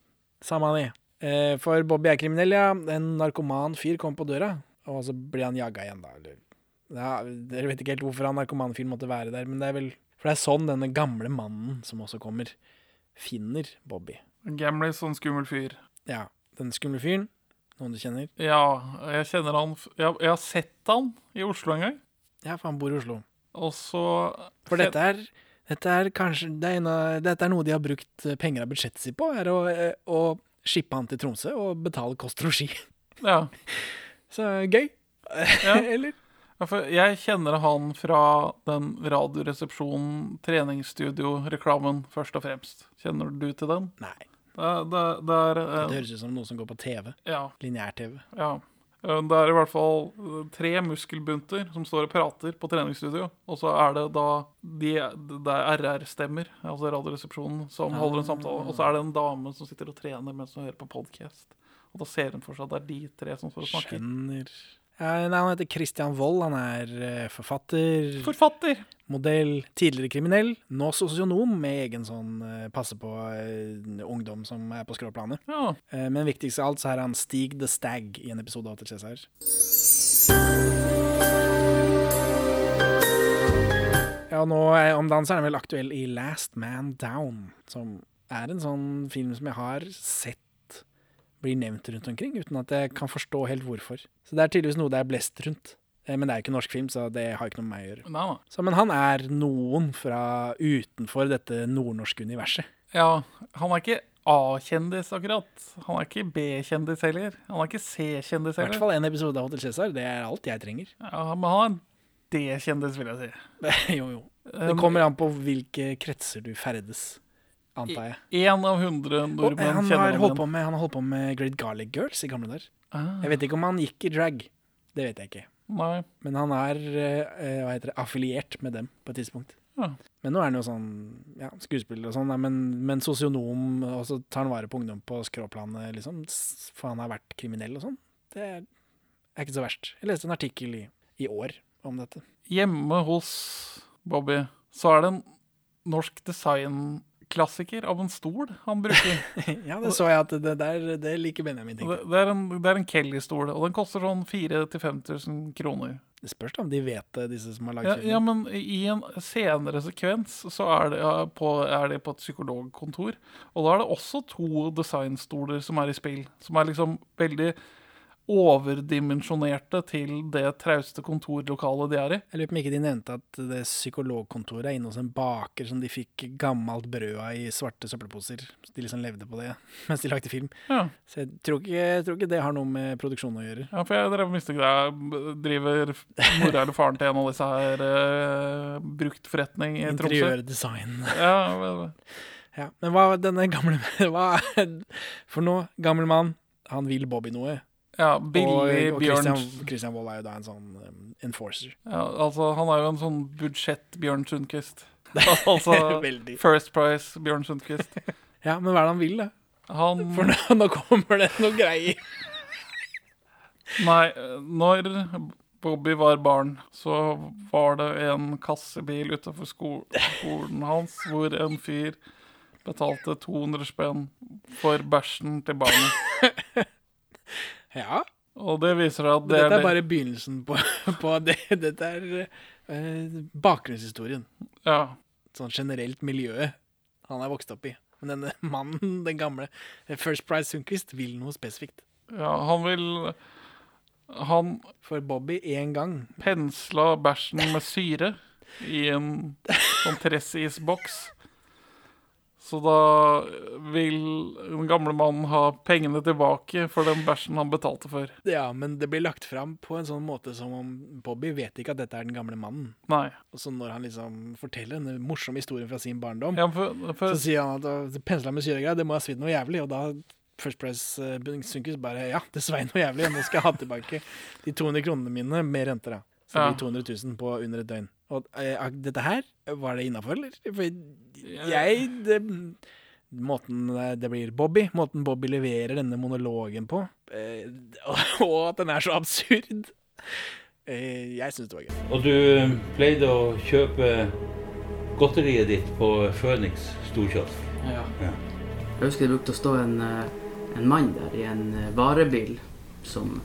A: Samme det. Eh, For Bobby er kriminell, ja. En narkoman fyr kom på døra, og så blir han jaga igjen, da. Eller ja, Dere vet ikke helt hvorfor han narkomanfyren måtte være der, men det er vel For det er sånn denne gamle mannen som også kommer, finner Bobby.
B: Gamlis, sånn skummel fyr.
A: Ja, den skumle fyren. Noen du kjenner?
B: Ja, jeg kjenner han f- Jeg, jeg har sett han i Oslo en gang,
A: Ja, for han bor i Oslo.
B: og så
A: For dette er, dette er kanskje det er en av, Dette er noe de har brukt eh, penger av budsjettet sitt på, er å, eh, å shippe han til Tromsø og betale kost og losji.
B: Ja.
A: Så gøy.
B: Ja.
A: Eller?
B: Ja, for jeg kjenner han fra den Radioresepsjonen treningsstudio-reklamen, først og fremst. Kjenner du til den?
A: Nei.
B: Det, er- det, det er
A: Det
B: eh,
A: høres ut som noe som går på TV.
B: Ja.
A: Lineær-TV.
B: ja. Eh, Det er i hvert fall eh, tre muskelbunter som står og prater på treningsstudio. Og så er det da de, Det er RR-stemmer, altså Radioresepsjonen,
A: Ah.
B: som holder en samtale. Og så er det en dame som sitter og trener mens hun hører på podkast. Og da ser hun for seg at det er de tre som står og snakker.
A: Skjønner. Ja, nei, han heter Christian Wold. Han er eh, forfatter,
B: Forfatter!
A: modell, tidligere kriminell, nå sosionom med egen sånn eh, passe på eh, ungdom som er på skråplanet.
B: Ja.
A: Eh, Men viktigst av alt så er han Stig the Stag i en episode av Hotel Cæsar. Ja, og nå er, om dagen så er han vel aktuell i Last Man Down, som er en sånn film som jeg har sett blir nevnt rundt omkring, uten at jeg kan forstå helt hvorfor. Så det er tydeligvis noe det er blest rundt. Eh, Men det er jo ikke norsk film, så det har ikke noe med meg å gjøre.
B: Nei, nei.
A: Så, men han er noen fra utenfor dette nordnorske universet.
B: Ja, han er ikke A-kjendis akkurat. Han er ikke B-kjendis heller. Han er ikke C-kjendis
A: I hvert
B: heller.
A: fall en episode av Hotel Cæsar. Det er alt jeg trenger.
B: Ja, men han er en D-kjendis, vil jeg si. Um,
A: jo, jo. Det kommer an på hvilke kretser du ferdes, antar jeg.
B: Én av hundre
A: Og
B: nordmenn
A: han
B: kjenner
A: har holdt
B: igjen.
A: på med, han har holdt på med Great Garlic Girls i gamle dager.
B: Ah,
A: Jeg vet ikke om han gikk i drag. Det vet jeg ikke.
B: nei.
A: Men han er eh, eh, hva heter det, affiliert med dem på et tidspunkt.
B: Ja.
A: Men nå er han jo sånn ja, skuespiller og sånn, da, men, men sosionom, og så tar han vare på ungdom på skråplanet, liksom, s- for han har vært kriminell og sånn. Det er, er ikke så verst. Jeg leste en artikkel i, i år om dette.
B: Hjemme hos Bobby så er det en norsk designklassiker av en stol han bruker.
A: ja, det så jeg at det der, det liker Benjamin ting.
B: Det, det er en, det er en Kelly-stol, og den koster sånn 4000-5000 kroner.
A: Det spørs da om de vet det, disse som har lagd
B: Ja,
A: filmen.
B: ja, men i en senere sekvens så er det, ja, på, er det på et psykologkontor. Og da er det også to designstoler som er i spill. Som er liksom veldig overdimensjonerte til det trauste kontorlokalet de er i.
A: Jeg lurer på om ikke de nevnte at det psykologkontoret er inne hos en baker som de fikk gammelt brød av i svarte søppelposer. Så de liksom levde på det mens de lagde film.
B: Ja,
A: Så jeg tror ikke, jeg tror ikke det har noe med produksjonen å gjøre.
B: ja for jeg drev og mistenkte Jeg driver mora eller faren til en av disse her eh, bruktforretning i Tromsø.
A: Interiørdesign.
B: Ja, men-
A: Ja. Men hva denne gamle hva, For nå, gammel mann, han vil Bobby noe.
B: ja, billig
A: og, og
B: Bjørn
A: Christian, Christian Wold er jo da en sånn um, enforcer.
B: ja, Altså, han er jo en sånn budsjett Bjørn Sundquist. altså,
A: Veldig.
B: First Price, Bjørn Sundquist.
A: Ja, men hva er det han vil, da?
B: Han
A: For nå, nå kommer det noe greier.
B: Nei, når Bobby var barn, så var det en kassebil utafor sko skolen hans hvor en fyr betalte 200 spenn for bæsjen til barnet.
A: Ja.
B: Og det viser seg at det
A: Dette
B: er
A: er
B: det.
A: bare begynnelsen på, på det. Dette er eh, bakgrunnshistorien.
B: Ja.
A: Sånn generelt miljøet han er vokst opp i. Men denne mannen, den gamle eh, First Price Sundquist, vil noe spesifikt.
B: ja, han vil Han
A: For Bobby én gang.
B: pensla bæsjen med syre i en sånn tressisboks. Så da vil den gamle mannen ha pengene tilbake for den bæsjen han betalte for.
A: Ja, men det blir lagt fram på en sånn måte som om Bobby vet ikke at dette er den gamle mannen.
B: Nei.
A: Og så når han liksom forteller denne morsomme historien fra sin barndom,
B: Ja, for,
A: så
B: for,
A: sier han at det pensla med syregreier, det må ha svidd noe jævlig. Og da First Price eh, Sunkus bare Ja, det svei noe jævlig, og nå skal jeg ha tilbake de 200 kronene mine med renter, da. Så det
B: Ja.
A: blir 200 000 på under et døgn. Og eh, ak- dette her, var det innafor, eller? For jeg det, Måten eh, det blir Bobby, måten Bobby leverer denne monologen på, eh, og at den er så absurd Eh, Jeg syns det var gøy.
E: Og du pleide å kjøpe godteriet ditt på Phoenix storkiosk.
F: Jeg husker det brukte å stå en, eh, en mann der i en eh, varebil som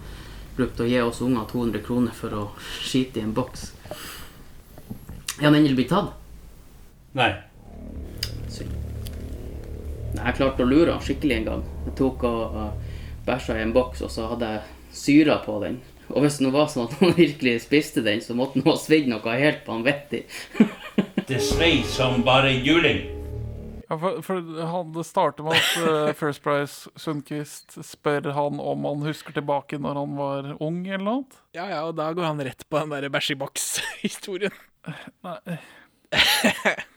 F: brukte å gi oss unger 200 kroner for å skite i en boks. Er han endelig blitt tatt?
E: Nei.
F: Synd. Nei, Jeg klarte å lure han skikkelig en gang. Jeg tok og uh, bæsja i en boks, og så hadde jeg syra på den. Og hvis det nå var sånn at han virkelig spiste den, så måtte han ha svidd noe helt vanvittig.
E: Det svei som bare juling.
B: ja, for, for han, det starter med at eh, First Price Sundquist spør han om han husker tilbake når han var ung, eller noe annet.
A: Ja, ja, og da går han rett på den der bæsj i boks-historien.
B: Nei,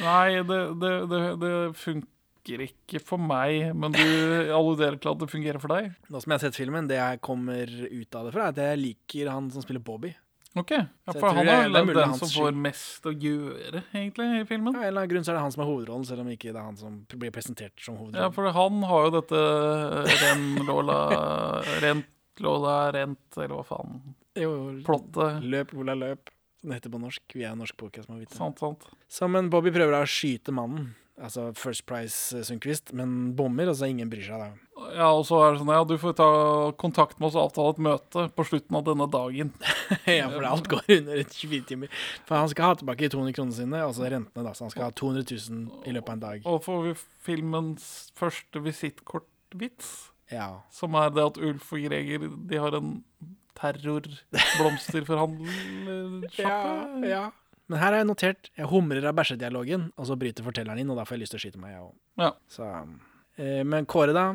B: Nei det, det, det, det funker ikke for meg, men du alluderer til at det fungerer for deg?
A: Nå som jeg har sett filmen, det jeg kommer ut av det fra, er at jeg liker han som spiller Bobby.
B: Ok, ja,
A: Så jeg
B: for
A: tror
B: han
A: det- det
B: er
A: er
B: vel
A: mulig
B: den
A: hans
B: som
A: skyld.
B: får mest å gjøre, egentlig, i
A: Av
B: filmen.
A: en eller annen grunn så er det han som er hovedrollen, selv om ikke det er han som blir presentert som
B: Ja,
A: hovedrollen.
B: for han har jo dette renlåla Rentlåla rent, eller hva faen.
A: jo, jo,
B: Plottet.
A: Løp, Ola, løp. Som det heter på norsk. Vi er en norsk podcast, må vite.
B: Sant, sant.
A: Så, men Bobby prøver da å skyte mannen, altså First Price eh, Sundquist, men bommer, og så ingen bryr seg da.
B: Ja, og så er det sånn, ja, du får ta kontakt med oss og avtale et møte på slutten av denne dagen.
A: ja, for alt går under et 24 timer. For han skal ha tilbake 200 kroner sine, altså rentene da, så han skal ha 200 000 i løpet av en dag.
B: Og får vi filmens første visittkortvits?
A: Ja.
B: Som er det at Ulf og Greger De har en terrorblomsterforhandlersjappe.
A: ja. Men her har jeg notert Jeg humrer av bæsjedialogen, og så bryter fortelleren inn, og da får jeg lyst til å skyte meg, jeg òg.
B: Ja.
A: Så, eh, men Kåre, da,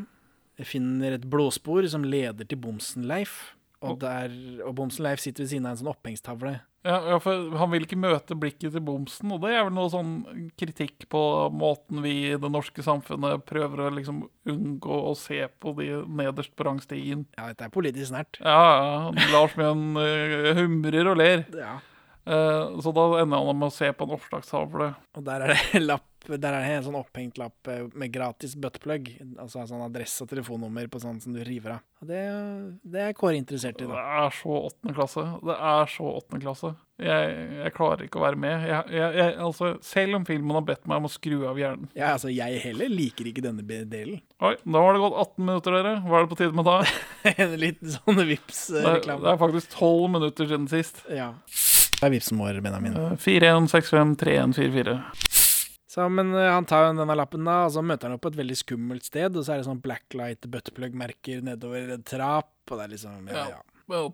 A: finner et blåspor som leder til Bomsen-Leif. Og, der- og Bomsen-Leif sitter ved siden av en sånn opphengstavle.
B: Ja, ja, for han vil ikke møte blikket til bomsen, og det er vel noe sånn kritikk på måten vi i det norske samfunnet prøver å liksom unngå å se på de nederst på rangstigen.
A: Ja, dette er politisk nært.
B: Ja, ja, Lars Mjøen eh, humrer og ler,
A: Ja.
B: Eh, så da ender han med å se på en oppslagstavle.
A: Og der er det en lapp der er det en sånn opphengt lapp eh, med gratis buttplug. Altså sånn adresse og telefonnummer på sånn som du river av. Og det, det er Kåre interessert i,
B: Det
A: da.
B: er så åttende klasse. Det er så åttende klasse. Jeg, jeg klarer ikke å være med. Jeg, jeg, jeg, altså, selv om filmen har bedt meg om å skru av hjernen.
A: Ja, altså, jeg heller liker ikke denne be- delen.
B: Oi, da har det gått 18 minutter, dere. Hva er det på tide med da?
A: En liten sånn
B: Det er, det
A: Vipps-reklame.
B: er faktisk 12 minutter siden sist.
A: Ja. Det er Vipsen vår, Benjamin.
B: Eh, 41653144.
A: Så, men eh, han tar jo denne lappen, da, og så møter han opp på et veldig skummelt sted, og så er det sånn blacklight buttplug-merker nedover en trapp, og det er liksom Ja, ja.
B: Well,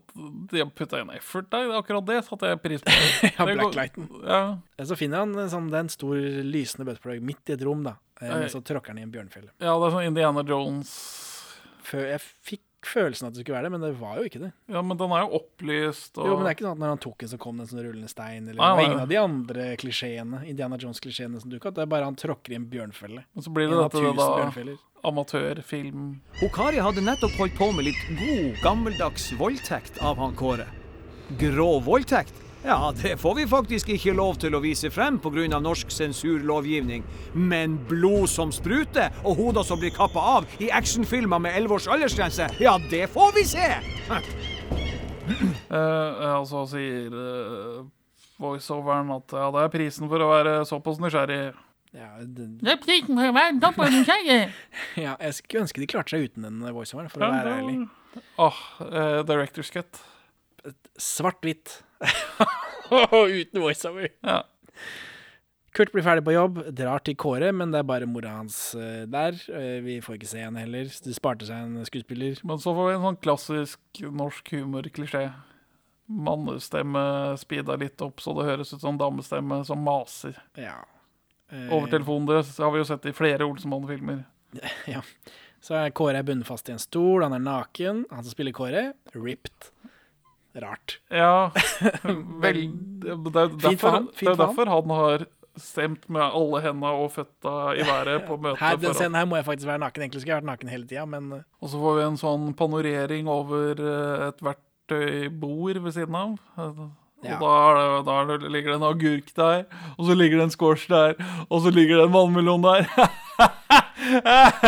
B: De har putta inn effort der. Akkurat det satte jeg pris på.
A: Ja,
B: Det går-
A: blacklighten.
B: Ja,
A: Eh, Så finner han eh, sånn, det er en stor lysende buttplug midt i et rom, da, eh,
B: Oi.
A: men så tråkker han i en bjørnefelle.
B: ja, det er sånn Indiana Jones
A: Fø- Jeg fikk følelsen at det skulle være det, men det var jo ikke det.
B: Ja, men den er jo opplyst og
A: Jo, men det er ikke sånn at når han tok en, så kom det en sånn rullende stein, eller det
B: Nei,
A: var
B: nei,
A: ingen
B: nei.
A: av de andre klisjeene, Indiana Jones-klisjeene som dukka opp, det er bare han tråkker i en bjørnefelle.
B: Men så blir
A: En
B: det
A: av
B: dette
A: tusen
B: da
A: bjørnfeller.
B: amatørfilm
G: Hun Kari hadde nettopp holdt på med litt god, gammeldags voldtekt av han Kåre. Grov voldtekt? Ja, det får vi faktisk ikke lov til å vise frem pga. norsk sensurlovgivning. Men blod som spruter, og hoder som blir kappa av i actionfilmer med 11 års aldersgrense, ja, det får vi se!
B: Eh, eh, og så sier eh, voiceoveren at ja, det er prisen for å være såpass nysgjerrig.
A: Ja, det,
B: Det er prisen for å være såpass nysgjerrig.
A: ja, jeg skulle ønske de klarte seg uten den voiceoveren, for å være ærlig.
B: Åh, eh, director's cut.
A: Svart-hvitt. Uten voiceover.
B: Ja.
A: Kurt blir ferdig på jobb, drar til Kåre, men det er bare mora hans eh, der. Eh, Vi får ikke se henne heller. så De sparte seg en skuespiller.
B: Men så får vi en sånn klassisk norsk humorklisjé. Mannestemme speeda litt opp så det høres ut som damestemme som maser.
A: Ja. Eh,
B: Over telefonen deres har vi jo sett i flere Olsenmann-filmer.
A: Så er Kåre er bundet fast i en stol, han er naken. Han som spiller Kåre, ripped. Rart.
B: Ja, vel, det er jo
A: Fint for
B: derfor,
A: han,
B: det er
A: fint for han.
B: derfor han har stemt med alle henda og føtta i været på møtet.
A: Her, den
B: for
A: scenen her må jeg faktisk være naken. Egentlig skulle jeg vært naken hele tida, men eh,
B: Og så får vi en sånn panorering over eh, et verktøybord ved siden av. Eh,
A: Ja.
B: Og da, er det, da er det, ligger det en agurk der, og så ligger det en squash der, og så ligger det en vannmelon der.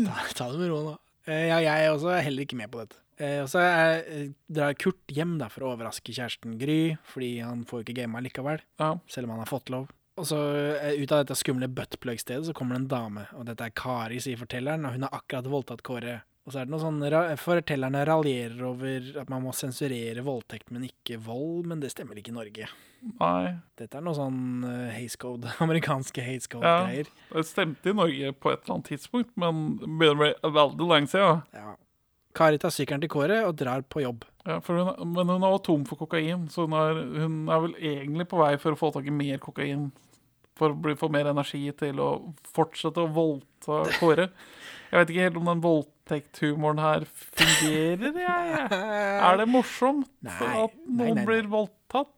A: ta, ta det med ro nå. Eh, ja, jeg også er heller ikke med på dette. Eh, og så er- eh, drar Kurt hjem da for å overraske kjæresten Gry, fordi han får jo ikke gama likevel.
B: ja.
A: selv om han har fått lov. Og så eh, ut av dette skumle buttplug-stedet så kommer det en dame, og dette er Kari, sier fortelleren, og hun har akkurat voldtatt Kåre. Og så er det noe sånn, ra- Fortellerne raljerer over at man må sensurere voldtekt, men ikke vold, men det stemmer ikke i Norge.
B: Nei.
A: Dette er noe sånn eh, haze code, amerikanske haze code-greier.
B: Det stemte i Norge på et eller annet tidspunkt, men det begynner å bli veldig lenge siden.
A: Ja. Kari tar sykkelen til Kåre og drar på jobb.
B: Ja, for hun, er- men hun er også tom for kokain, så hun er, hun er vel egentlig på vei for å få tak i mer kokain. For å bli, få mer energi til å fortsette å voldta Kåre. Jeg vet ikke helt om den voldtektshumoren her fungerer, jeg. Er det morsomt
A: Nei,
B: at
A: nei,
B: noen
A: nei, nei.
B: blir voldtatt?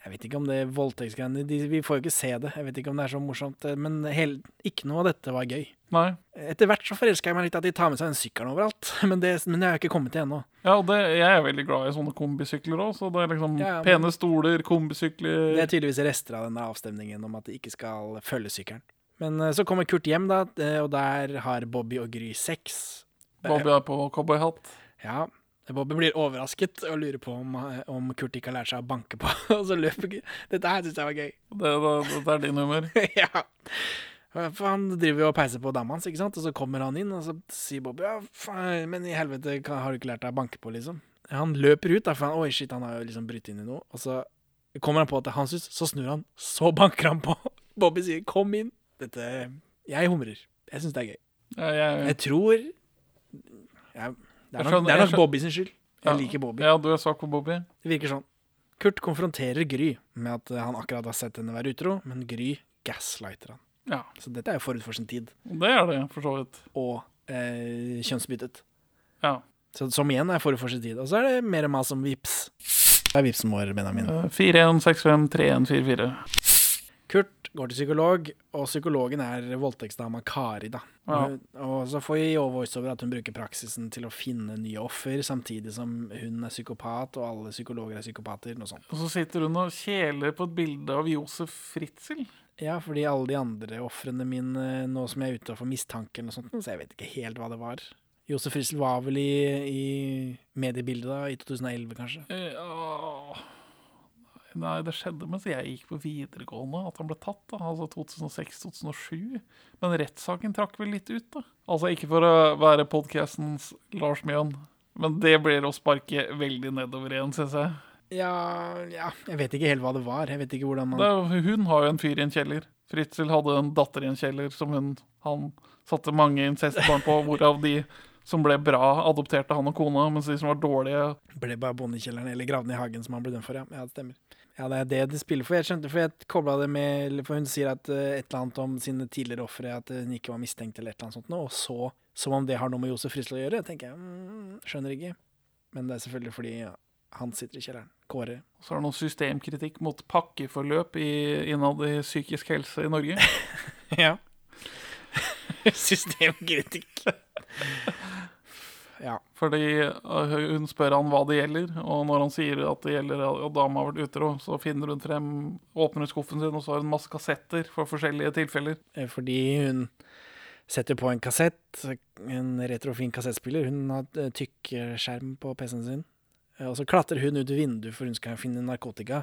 A: Jeg vet ikke om det er voldtektsgreiene de, Vi får jo ikke se det. Jeg vet ikke om det er så morsomt, eh, men hele, ikke noe av dette var gøy.
B: Nei.
A: Etter hvert så forelsker jeg meg litt at de tar med seg den sykkelen overalt, men det, men det har jeg ikke kommet til ennå.
B: Ja, og det, jeg er veldig glad i sånne kombisykler òg, så det er liksom
A: Ja, men-
B: pene stoler, kombisykler
A: Det er tydeligvis rester av denne avstemningen om at de ikke skal følge sykkelen. Men eh, så kommer Kurt hjem, da, eh, og der har Bobby og Gry sex.
B: Bobby er på cowboyhatt.
A: Ja, Bobby blir overrasket og lurer på om, eh, om Kurt ikke har lært seg å banke på, og så løper Gry. Dette her syns jeg var gøy.
B: Det, det, det er din humor.
A: ja. For han driver jo og peiser på dama hans, ikke sant? Og så kommer han inn, og så sier Bobby ja, faen, men i helvete, hva har du ikke lært deg å banke på, liksom? Han løper ut, da, for han, oi, shit, han har jo liksom brytt inn i noe. Og så kommer han på at det er hans hus, så snur han, så banker han på. Bobby sier 'kom inn'. Dette Jeg humrer. Jeg syns det er gøy.
B: Jeg, jeg,
A: Jeg tror jeg, Det er
B: Jeg
A: nok,
B: skjønner-
A: det er
B: jeg
A: nok
B: skjøn-
A: Bobby sin skyld. Jeg
B: Ja.
A: liker Bobby.
B: Ja, du er svak for Bobby.
A: Det virker sånn. Kurt konfronterer Gry med at eh, han akkurat har sett henne være utro, men Gry gaslighter han.
B: Ja.
A: Så dette er jo forut for sin tid.
B: Det er det, for så vidt.
A: og eh, kjønnsbyttet.
B: Ja.
A: Så, som igjen er forut for sin tid. Og så er det mer mas om vips. Det er vipsen vår, Benjamin.
B: Eh, 41653144.
A: Kurt går til psykolog, og psykologen er voldtektsdama Kari, da.
B: Ja.
A: Hun- Og så får vi voiceover at hun bruker praksisen til å finne nye offer, samtidig som hun er psykopat, og alle psykologer er psykopater, noe sånt.
B: Og så sitter hun og kjeler på et bilde av Josef Fritzel.
A: Ja, fordi alle de andre ofrene mine, eh, nå som jeg er ute for mistanke eller noe sånt, så jeg vet ikke helt hva det var. Josef Frisel var vel i, i mediebildet da, i 2011 kanskje?
B: Eh, åh. Nei, det skjedde mens jeg gikk på videregående at han ble tatt. da, Altså 2006-2007. Men rettssaken trakk vel litt ut, da. Altså ikke for å være podkastens Lars Mjøen, men det blir å sparke veldig nedover igjen, syns jeg.
A: Ja, ja, jeg vet ikke helt hva det var. Jeg vet ikke hvordan man
B: Det, er- hun har jo en fyr i en kjeller. Fritzel hadde en datter i en kjeller som hun, han satte mange incestbarn på, hvorav de som ble bra, adopterte han og kona, mens de som var dårlige
A: ble bare bondekjelleren eller gravd ned i hagen som han ble dømt for, ja. ja. Det stemmer. Ja, det er det de spiller for. Jeg skjønte, for jeg kobla det med eller For hun sier at eh, et eller annet om sine tidligere ofre, at eh, hun ikke var mistenkt eller et eller annet sånt noe, og så som om det har noe med Josef Frisle å gjøre, tenker jeg. Mm, skjønner ikke. Men det er selvfølgelig fordi ja, han sitter i kjelleren. Kåre.
B: Så er det noe systemkritikk mot pakkeforløp i, innad i psykisk helse i Norge.
A: Ja. Systemkritikk. ja.
B: Fordi eh, hun spør han hva det gjelder, og når han sier at det gjelder og dama har vært utro, så finner hun frem, åpner skuffen sin, og så har hun masse kassetter for forskjellige tilfeller.
A: Eh, Fordi hun setter på en kassett, en retrofin kassettspiller. Hun har eh, tykk eh, skjerm på PC-en sin. Eh, Og så klatrer hun ut vinduet for hun skal finne narkotika.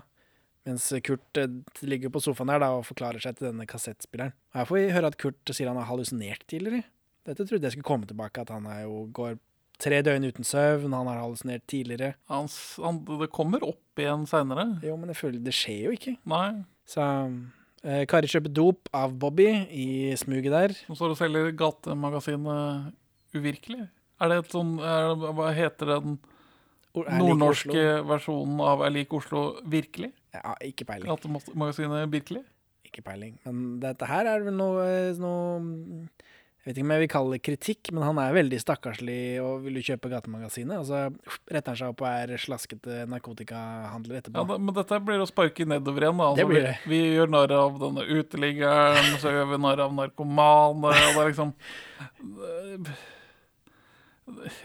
A: Mens Kurt eh, ligger på sofaen der da, og forklarer seg til denne kassettspilleren. Og Her får vi høre at Kurt sier han har hallusinert tidligere. Dette trodde jeg skulle komme tilbake, at han er jo, går tre døgn uten søvn, han har hallusinert tidligere.
B: Han, s- han, det kommer opp igjen seinere.
A: Jo, men jeg føler det skjer jo ikke.
B: Nei.
A: Så eh, Kari kjøper dop av Bobby i smuget der.
B: Nå står det og selger gatemagasinet Uvirkelig. Er det et sånn er, det- Hva heter den
A: Or- er like Oslo.
B: nordnorske versjonen av Er lik Oslo virkelig?
A: Ja, ikke peiling.
B: At magasinet Birkeli?
A: Ikke peiling. Men dette her er vel noe, noe Jeg vet ikke om jeg vil kalle det kritikk, men han er veldig stakkarslig og vil jo kjøpe Gatemagasinet. Og så retter han seg opp og er slaskete narkotikahandler
B: Ja,
A: etterpå.
B: da, men dette blir å sparke nedover igjen. da. Altså,
A: Det blir det.
B: Vi, vi gjør narr av denne uteliggeren, så gjør vi narr av narkomane. og det er liksom... eh,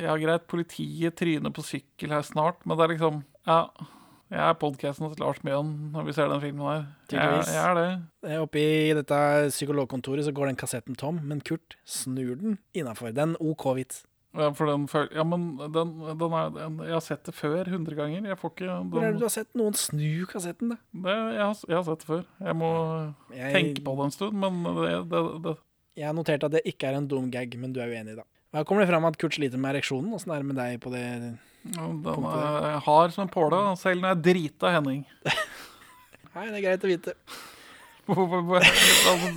B: Ja, greit, politiet tryner på sykkel her snart, men det er liksom Ja, jeg er podkasten til Lars Mjøen når vi ser den filmen her. Jeg,
A: Tydeligvis.
B: jeg er det.
A: Eh, Oppe i dette psykologkontoret så går den kassetten tom, men Kurt snur den innafor. Den OK vits.
B: Ja, For den føl- Ja, men den, den er den, Jeg har sett det før 100 ganger. Jeg får ikke den,
A: Hvor er det du har
B: det,
A: sett noen snu kassetten, da?
B: jeg, har, jeg har sett det før. Jeg må
A: Jeg,
B: tenke på det en stund, men det, det, det
A: Jeg har notert at det ikke er en dum gag, men du er uenig, da. Her kommer det fram at Kurt sliter med ereksjonen. Åssen er det med deg på det
B: Ja, Den
A: Punktet
B: er jeg hard som en påle, selv når jeg drita Henning.
A: Nei, det er greit å vite.
B: Altså,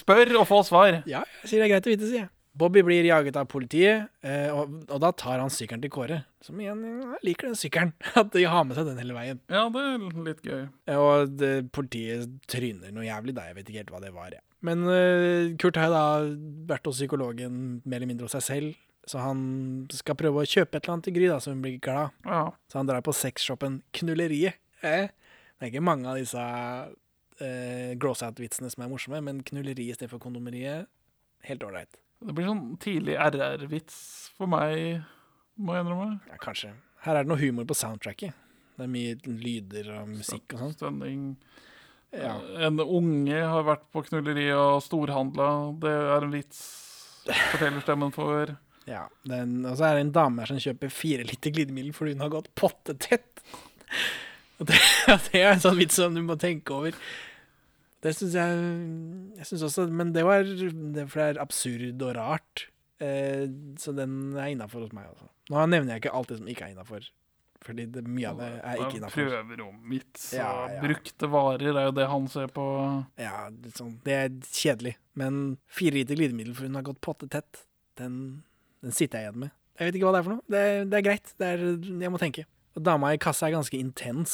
B: Spør og få svar.
A: Ja, jeg sier det er greit å vite, sier jeg. Bobby blir jaget av politiet, eh, og, og da tar han sykkelen til Kåre. Som igjen jeg liker den sykkelen. At de har med seg den hele veien.
B: Ja, det er litt gøy.
A: Eh, Og det, politiet tryner noe jævlig da, jeg vet ikke helt hva det var. Jeg. Men eh, Kurt har jo da vært hos psykologen mer eller mindre hos seg selv, så han skal prøve å kjøpe et eller annet til Gry, da, så hun blir glad.
B: Ja.
A: Så han drar på sexshoppen Knulleriet. Eh? Det er ikke mange av disse eh, gross-out-vitsene som er morsomme, men knulleriet i stedet for kondomeriet, helt ålreit.
B: Det blir sånn tidlig RR-vits for meg, må jeg innrømme.
A: Ja, kanskje. Her er det noe humor på soundtracket. Det er mye lyder og musikk og sånn.
B: Stønning.
A: Ja.
B: En unge har vært på knulleri og storhandla. Det er en vits fortellerstemmen får.
A: Ja, den, og så er det en dame her som kjøper fire liter glidemiddel fordi hun har gått pottetett. Og det, det er en sånn vits som du må tenke over. Det syns jeg Jeg synes også Men det var det, For det er absurd og rart. Eh, så den er innafor hos meg, altså. Nå nevner jeg ikke alt det som ikke er innafor. Fordi det, mye av det er ikke innafor.
B: Prøveromvits og
A: Ja, ja.
B: brukte varer er jo det han ser på.
A: Ja, litt sånn, det er kjedelig. Men fire liter glidemiddel fordi hun har gått pottetett, den, den sitter jeg igjen med. Jeg vet ikke hva det er for noe. Det er, det er greit. Det er, jeg må tenke. Og dama i kassa er ganske intens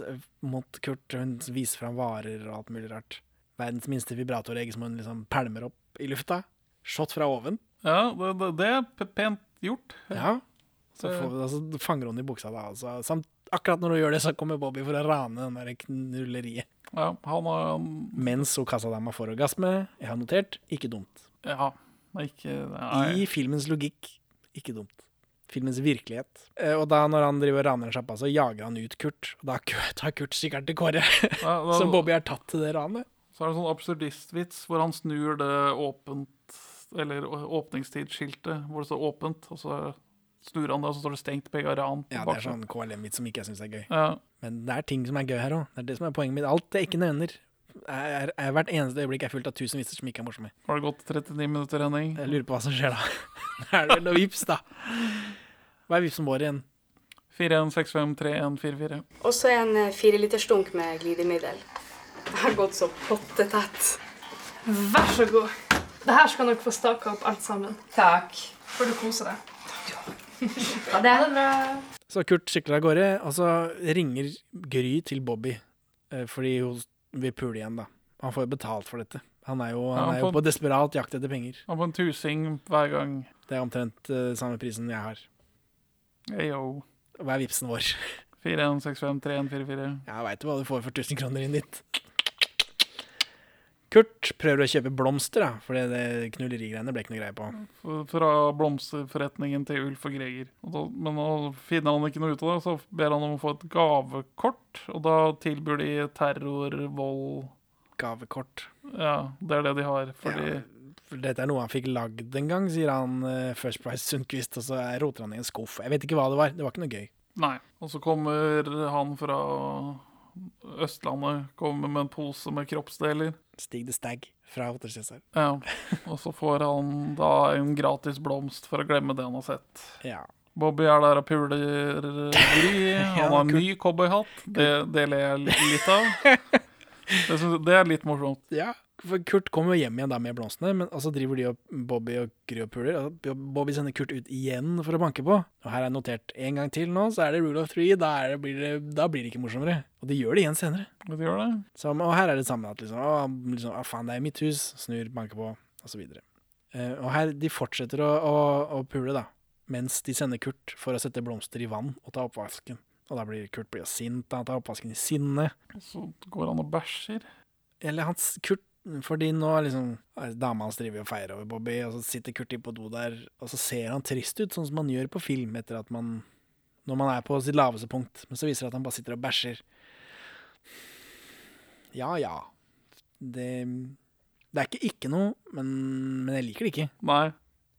A: det- mot Kurt. Hun viser fram varer og alt mulig rart. Verdens minste vibratoregg som hun liksom pælmer opp i lufta. Shot fra oven.
B: Ja, det, det, det er p- pent gjort.
A: Ja. Så
B: Det-
A: får vi, altså, fanger hun i buksa da. Altså. Samt, akkurat når hun gjør det, så kommer Bobby for å rane den der knulleriet.
B: Ja, han har
A: Mens hun kassadama får orgasme. Jeg har notert. Ikke dumt.
B: Ja. det er Ikke,
A: I
B: nei.
A: filmens logikk. Ikke dumt. Filmens virkelighet. Eh, Og da når han driver og raner sjappa, så jager han ut Kurt. Og da ku- tar Kurt sykkelen til Kåre,
B: Ja, da,
A: som Bobby har tatt til det ranet.
B: Så er det sånn absurdistvits hvor han snur det åpent Eller å- åpningstidsskiltet hvor det står åpent, og så snur han det, og så står det stengt begge ran på
A: Ja, det er
B: baksiden.
A: sånn KLM-vits som ikke jeg syns er gøy.
B: Ja,
A: Men det er ting som er gøy her òg. Det er det som er poenget mitt. Alt jeg ikke nevner, er, er, er hvert eneste øyeblikk er fullt av tusen vitser som ikke er morsomme.
B: har det gått 39 minutter, Henning?
A: Jeg lurer på hva som skjer da. Da er det vel noe vips, da. Hva er vipsen vår igjen?
B: 41653144.
H: Også en eh, fire liters dunk med glidemiddel. Det har gått så pottetett. Vær så god. Det her skal nok få staka opp alt sammen. Takk. Får du kose deg. Ja, det er bra.
A: Så Kurt sykler av gårde, og så ringer Gry til Bobby, eh, fordi hun vil pule igjen, da. Han får jo betalt for dette. Han er jo, han
B: han
A: er jo
B: får-
A: på desperat jakt etter penger.
B: Han får en tusing hver gang.
A: Det er omtrent eh, samme prisen jeg har.
B: Ayo.
A: Hva er vipsen vår?
B: 41653144.
A: Jeg veit jo hva du får for 1000 kroner inn dit. Kurt prøver å kjøpe blomster, da, for det, det knullerigreiene ble ikke noe greie på.
B: F- Fra blomsterforretningen til Ulf og Greger. Og da, men nå finner han ikke noe ut av det, så ber han om å få et gavekort. Og da tilbyr de terror, vold
A: Gavekort.
B: Ja, det er det de har. Fordi
A: Ja, for dette er noe han fikk lagd en gang, sier han eh, First Price Sundquist, og så eh, roter han i en skuff. Jeg vet ikke hva det var. Det var ikke noe gøy.
B: Nei. Og så kommer han fra Østlandet, kommer med en pose med kroppsdeler.
A: Stig the Stag fra Hotell Cæsar.
B: Ja. Og så får han da en gratis blomst for å glemme det han har sett.
A: Ja.
B: Bobby er der og puler Gry.
A: Ja,
B: Han har en
A: kult.
B: ny cowboyhatt. Det, det ler jeg litt av. Det, synes, det er litt morsomt.
A: ja. for Kurt kommer jo hjem igjen da med blomstene, men og så driver de og Bobby og Gry og puler. Og Bobby sender Kurt ut igjen for å banke på. Og her er notert en gang til nå, så er det rule of three. Da, er det, blir, det, da blir det ikke morsommere. Og de gjør det igjen senere.
B: Vet du gjør det?
A: Så, og her er det samme at liksom, å, liksom, å faen, det er mitt hus, snur, banker på, og så videre. Eh, og her, de fortsetter å, å, å pule, da, mens de sender Kurt for å sette blomster i vann og ta oppvasken. Og da blir Kurt blir sint, han tar oppvasken i sinne.
B: Og så går han og bæsjer.
A: Eller hans Kurt, fordi nå er liksom er Dama hans driver og feirer over Bobby, og så sitter Kurt inne på do der, og så ser han trist ut, sånn som man gjør på film etter at man Når man er på sitt laveste punkt, men så viser det at han bare sitter og bæsjer. Ja ja. Det Det er ikke ikke noe, men, men jeg liker det ikke.
B: Nei.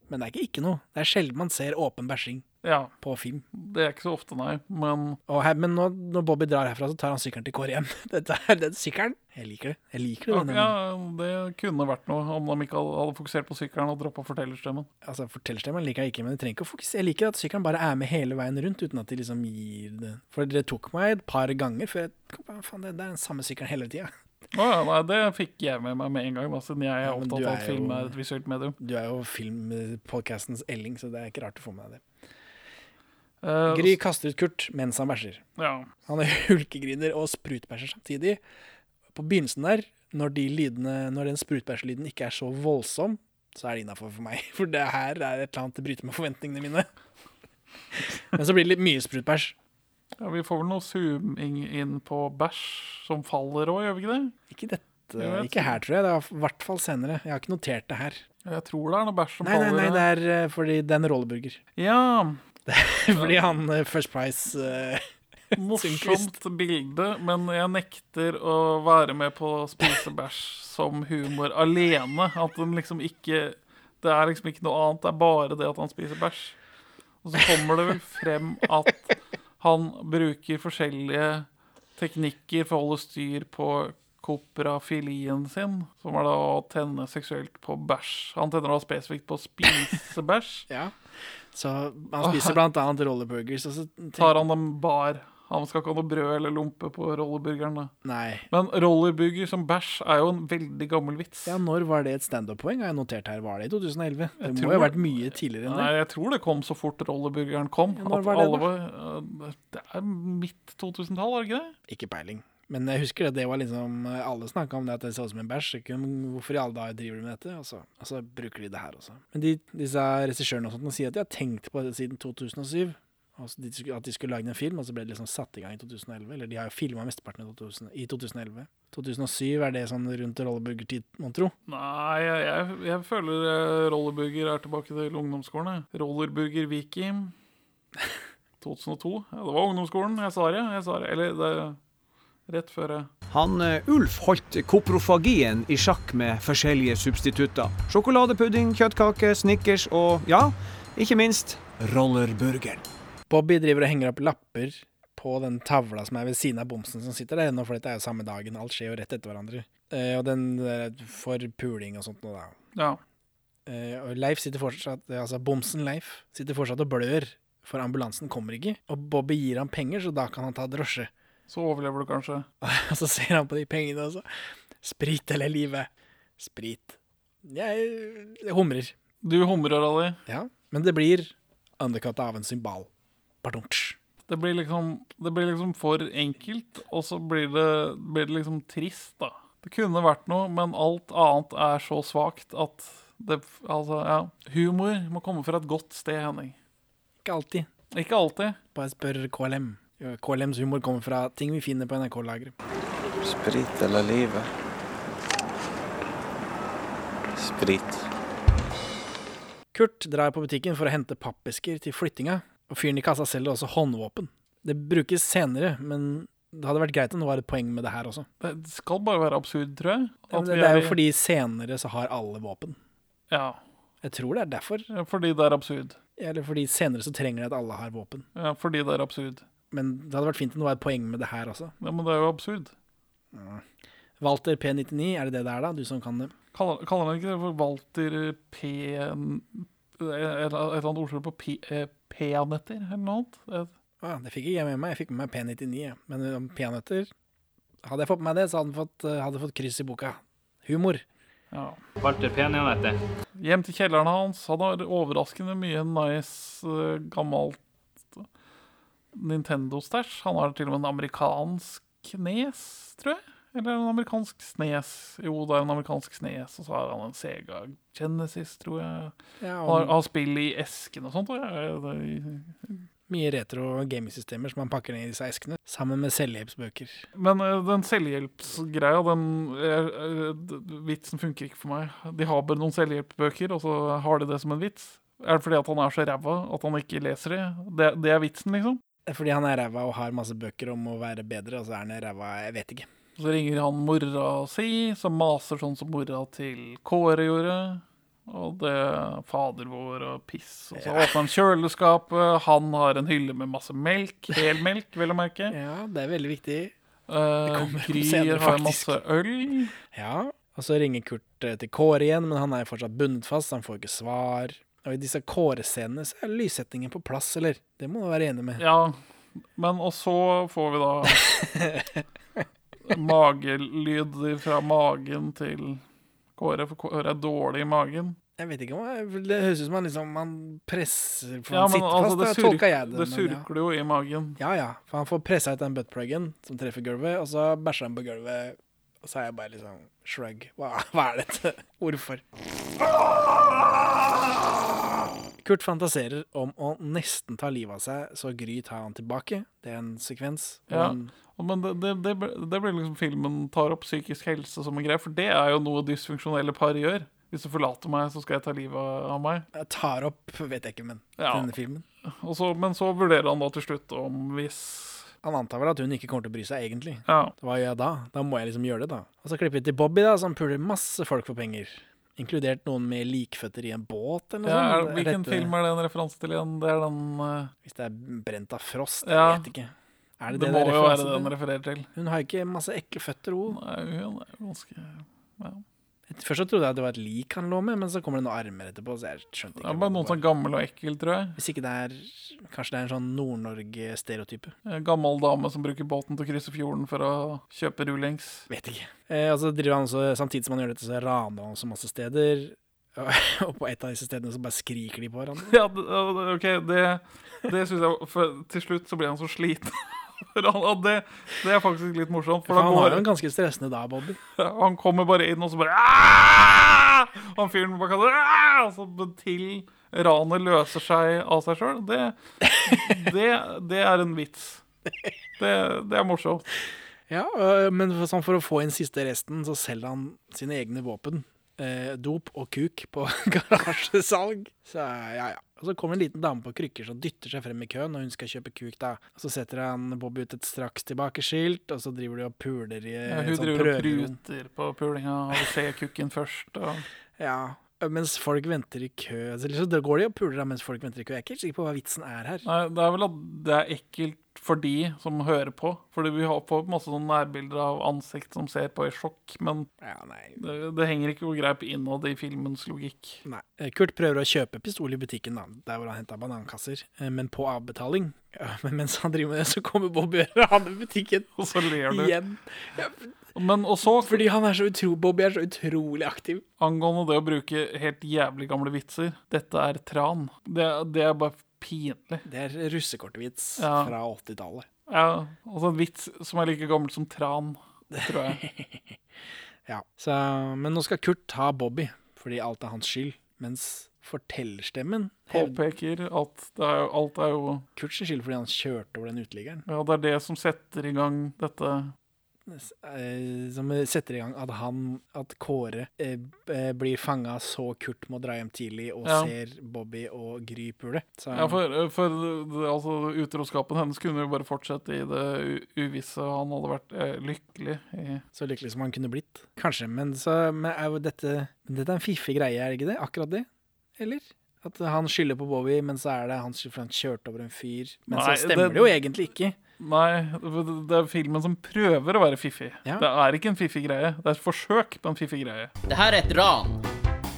A: Men det er ikke ikke noe. Det er sjelden man ser åpen bæsjing
B: Ja,
A: på film.
B: det er ikke så ofte, nei. Men
A: Og her, men nå, når Bobby drar herfra, så tar han sykkelen til Kåre hjem. Dette er den sykkelen. Jeg liker det. Jeg liker det. denne-
B: ja, det kunne vært noe om de ikke hadde fokusert på sykkelen og droppa fortellerstemmen.
A: Altså, Fortellerstemmen liker jeg ikke, men jeg trenger ikke å fokusere. Jeg liker at sykkelen bare er med hele veien rundt, uten at de liksom gir det. For det tok meg et par ganger før jeg kom på, faen, det, det er den samme sykkelen hele tida.
B: Å ja, nei, det fikk jeg med meg med en gang, da, siden jeg er
A: men
B: opptatt
A: du
B: av
A: er
B: at film
A: jo-
B: er et visuelt medium.
A: Du er jo filmpodkastens Elling, så det er ikke rart du får med deg det.
B: Eh,
A: Gry kaster ut Kurt mens han bæsjer.
B: ja.
A: Han er hulkegriner og sprutbæsjer samtidig. På begynnelsen der, når, de lydene, når den sprutbæsjelyden ikke er så voldsom, så er det innafor for meg. For det her er et eller annet det bryter med forventningene mine. Men så blir det litt mye sprutbæsj.
B: ja, Vi får vel noe zooming inn på bæsj som faller òg, gjør vi ikke det?
A: Ikke dette,
B: Jo, jeg
A: ikke her, tror jeg. Det er i hvert fall senere. Jeg har ikke notert det her.
B: Jeg tror det er noe bæsj som
A: Nei, nei,
B: faller.
A: nei, det
B: ja.
A: er eh, fordi det er en rolleburger.
B: Ja,
A: Fordi han eh, First Price eh,
B: morsomt bilde, men jeg nekter å være med på å spise bæsj som humor alene. At den liksom ikke Det er liksom ikke noe annet, det er bare det at han spiser bæsj. Og så kommer det vel frem at han bruker forskjellige teknikker for å holde styr på koprafilien sin, som er da å tenne seksuelt på bæsj. Han tenner da spesifikt på å spise bæsj.
A: Ja. Så han spiser blant annet rolleburgers, og så tenker-
B: tar han en bar. Han skal ikke ha noe brød eller lompe på rollerburgeren. da.
A: Nei.
B: Men rollerburger som bæsj er jo en veldig gammel vits.
A: Ja, når var det et standup-poeng? Har jeg notert her. Var det i 2011? Det
B: Jeg
A: må
B: tror-
A: jo ha vært mye tidligere enn det.
B: Nei, jeg tror det kom så fort rollerburgeren kom.
A: Ja, når
B: at
A: var det, da?
B: alle var- eh, det er midt 2000-tall, er det ikke det?
A: Ikke peiling. Men jeg husker at det var liksom eh, Alle snakka om det, at det så ut som en bæsj. ikke om Hvorfor i alle dager driver de med dette? Og så, og så bruker de det her også. Men de, disse regissørene og sånt, de sier at de har tenkt på det siden 2007. og så de, skulle- at de skulle lage en film, og så ble det liksom satt i gang i 2011. Eller de har jo filma mesteparten i 2000 i 2011. 2007 er det sånn rundt rolleburgertid, mon tro.
B: Nei, jeg, jeg, jeg føler eh, rollerburger er tilbake til ungdomsskolen. jeg. Rollerburger Viki 2002. Ja, det var ungdomsskolen. Jeg sa det. jeg sa det. Eller det, rett før jeg
G: Han eh, Ulf holdt koprofagien i sjakk med forskjellige substitutter. Sjokoladepudding, kjøttkake, Snickers og ja, ikke minst rollerburgeren.
A: Bobby driver og henger opp lapper på den tavla som er ved siden av bomsen som sitter der ennå, for dette er jo samme dagen. Alt skjer jo rett etter hverandre. Eh, og den eh, for puling og sånt noe, da.
B: Ja.
A: Eh, og Leif sitter fortsatt eh, Altså bomsen Leif sitter fortsatt og blør, for ambulansen kommer ikke. Og Bobby gir ham penger, så da kan han ta drosje.
B: Så overlever du kanskje.
A: Og så ser han på de pengene, og så Sprit eller livet? Sprit. Jeg, jeg humrer.
B: Du humrer av det.
A: Ja. Men det blir undercut av en symbal. Pardontsj.
B: Det blir liksom, det blir liksom for enkelt, og så blir det, blir det liksom trist, da. Det kunne vært noe, men alt annet er så svakt at det Altså, ja. Humor må komme fra et godt sted, Henning.
A: Ikke alltid.
B: Ikke alltid.
A: Bare spør KLM. Ja, KLMs humor kommer fra ting vi finner på NRK-lageret.
I: Sprit eller livet? Sprit.
A: Kurt drar på butikken for å hente pappesker til flyttinga, og fyren i kassa selger også håndvåpen. Det brukes senere, men det hadde vært greit om det var et poeng med det her også.
B: Det skal bare være absurd, tror jeg.
A: Ja, men
B: vi
A: det, det er
B: i-
A: jo fordi senere så har alle våpen.
B: Ja,
A: Jeg tror det er derfor.
B: ja, fordi det er absurd.
A: Eller fordi senere så trenger de at alle har våpen.
B: Ja, fordi det er absurd.
A: Men det hadde vært fint om det var et poeng med det her også.
B: Ja, men det er jo absurd.
A: Walter P99, er det det det er da? Du som kan det.
B: Kaller kaller man ikke det for Walter P... Et eller annet ordspill på P- eh, peanøtter, eller noe annet?
A: Ah, det fikk ikke jeg med meg. Jeg fikk med meg P99. jeg. Men om peanøtter Hadde jeg fått med meg det, så hadde jeg fått, eh, hadde jeg fått eh, kryss i boka. Humor.
B: Ja.
J: Walter pen igjen, vet du.
B: Hjem til kjelleren hans. Han har overraskende mye nice, eh, gammelt eh, Nintendo-stæsj. Han har til og med en amerikansk nes, tror jeg. Eller en amerikansk snes. Jo, det er en amerikansk snes, og så har han en Sega Genesis, tror jeg.
A: Ja,
B: Han har,
A: og
B: har spill i esken og sånt. tror jeg. Det-
A: mye retro gamingsystemer som han pakker ned i disse eskene, sammen med selvhjelpsbøker.
B: Men eh, den selvhjelpsgreia, den eh, eh, d- vitsen funker ikke for meg. De har bare noen selvhjelpsbøker, og så har de det som en vits. Er det fordi at han er så ræva at han ikke leser det? Det, det er vitsen, liksom?
A: Fordi han er ræva og har masse bøker om å være bedre, og så er han ræva Jeg vet ikke.
B: Så ringer han mora si, som maser sånn som mora til Kåre gjorde. Og det er fader vår og piss. Og så åpner han kjøleskapet. Han har en hylle med masse melk. Helmelk, vel å merke.
A: Ja, det er veldig viktig.
B: Eh,
A: kommer opp
B: Gry
A: senere,
B: har
A: faktisk.
B: masse øl.
A: Ja. Og så ringer Kurt eh, til Kåre igjen, men han er jo fortsatt bundet fast, så han får ikke svar. Og i disse Kåre-scenene så er lyssettingen på plass, eller? Det må du være enig med.
B: Ja, men og så får vi da magelyder fra magen til Kåre, for Kåre er dårlig i magen.
A: Jeg vet ikke om jeg- Det høres ut som han liksom Han presser For
B: Ja,
A: han
B: men
A: sitter
B: altså,
A: fast,
B: det,
A: da
B: surk,
A: tolka jeg det.
B: det
A: men ja.
B: surkler jo i magen.
A: Ja ja, for han får pressa ut den buttpluggen som treffer gulvet, og så bæsjer han på gulvet. Og så er jeg bare liksom Shrug. Hva, hva er dette? Hvorfor? Kurt fantaserer om å nesten ta livet av seg, så Gry tar han tilbake. Det er en sekvens. hvor
B: Ja.
A: han-
B: Men det, det, det, blir- det blir liksom filmen tar opp psykisk helse som en greie, for det er jo noe dysfunksjonelle par gjør. Hvis du forlater meg, så skal jeg ta livet av meg.
A: jeg tar opp, vet jeg ikke, men
B: Ja.
A: denne filmen.
B: Og så, men så vurderer han da til slutt om hvis
A: Han antar vel at hun ikke kommer til å bry seg, egentlig.
B: Ja.
A: Hva gjør jeg da? Da må jeg liksom gjøre det, da. Og så klipper vi til Bobby, da, som puler masse folk for penger. Inkludert noen med likføtter i en båt, eller noe
B: ja er, sånn
A: sånt. Er
B: hvilken
A: dette-
B: film er det en referanse til igjen? Det er den eh,
A: Hvis det er brent av frost,
B: Ja.
A: jeg vet ikke. Er det
B: Det,
A: det,
B: må
A: det er
B: jo være
A: referanse
B: den
A: til?
B: refererer til.
A: Hun har ikke masse ekle føtter, hun.
B: Nei, hun er jo ganske
A: Først så trodde jeg at det var et lik han lå med, men så kommer det noen armer etterpå, så jeg skjønte
B: Det
A: ikke.
B: er
A: hva
B: bare noen
A: det var.
B: som er gammel og ekkel, tror jeg.
A: Hvis ikke det er Kanskje det er en sånn Nord-Norge-stereotype.
B: En gammel dame som bruker båten til å krysse fjorden for å kjøpe rullengs.
A: Vet ikke. Eh, og så driver han også, samtidig som han gjør dette, så raner han så masse steder. Og på et av disse stedene så bare skriker de på hverandre.
B: Ja, det- det- OK, det, det syns jeg For til slutt så blir han så sliten. For han- og det, det er faktisk litt morsomt, for
A: For
B: da
A: han har jo
B: går
A: en ganske stressende dag, Bobby.
B: han kommer bare inn, og så bare «Ah!» Han fyren bak kassen «Ah!» og så til ranet løser seg av seg sjøl. Det, det, det er en vits. Det, det er morsomt.
A: Ja, øh, men for, sånn for å få inn siste resten, så selger han sine egne våpen. Eh, dop og kuk på garasjesalg. Så eh, ja, ja. Og så kommer en liten dame på krykker som dytter seg frem i køen, og hun skal kjøpe kuk, da. Og så setter han Bobby ut et straks tilbakeskilt, og så driver de og puler i
B: Ja,
A: ja,
B: hun
A: sånn
B: driver og
A: prøverom.
B: pruter på pulinga og ser kukken først. Og...
A: Ja. øh, Mens folk venter i kø. Så liksom, da går de og puler da, mens folk venter i kø. Jeg er ikke helt sikker på hva vitsen er her.
B: Nei, det er vel at det er ekkelt for de som hører på. Fordi vi har på masse sånne nærbilder av ansikt som ser på i sjokk, men
A: Ja, nei.
B: det, det henger ikke noe greip innad i filmens logikk.
A: Nei. Eh, Kurt prøver å kjøpe pistol i butikken, da, der hvor han henta banankasser, eh, men på avbetaling. Ja, Men mens han driver med det, så kommer Bobby og gjør han i butikken
B: Og så ler du.
A: igjen.
B: Men og så,
A: Fordi han er så utro Bobby er så utrolig aktiv.
B: angående det å bruke helt jævlig gamle vitser Dette er tran. Det, det er bare pinlig.
A: Det er russekortvits
B: Ja.
A: fra 80-tallet.
B: Ja, altså en vits som er like gammel som tran, tror jeg.
A: Ja. Så, men nå skal Kurt ta Bobby, fordi alt er hans skyld. Mens fortellerstemmen hevder
B: Påpeker at det er, jo- alt er jo
A: Kurts skyld fordi han kjørte over den uteliggeren.
B: Ja, det er det som setter i gang dette
A: eh, som setter i gang at han, at Kåre eh, eh, blir fanga så Kurt må dra hjem tidlig og
B: Ja.
A: ser Bobby og Gry pule. Så
B: Ja, for, eh, for det- altså, utroskapen hennes kunne jo bare fortsette i det u uvisse. Han hadde vært eh, lykkelig i
A: så lykkelig som han kunne blitt. Kanskje, men, så, men er jo dette Dette er en fiffig greie, er det ikke det? Akkurat det? Eller? At han skylder på Bobby, men så er det hans skyld for han kjørte over en fyr. Men
B: Nei,
A: så stemmer det
B: det-
A: jo egentlig ikke.
B: Nei, det- det er filmen som prøver å være fiffig.
A: Ja.
B: Det er ikke en fiffig greie. Det er et forsøk på en fiffig greie.
F: Det her er et ran.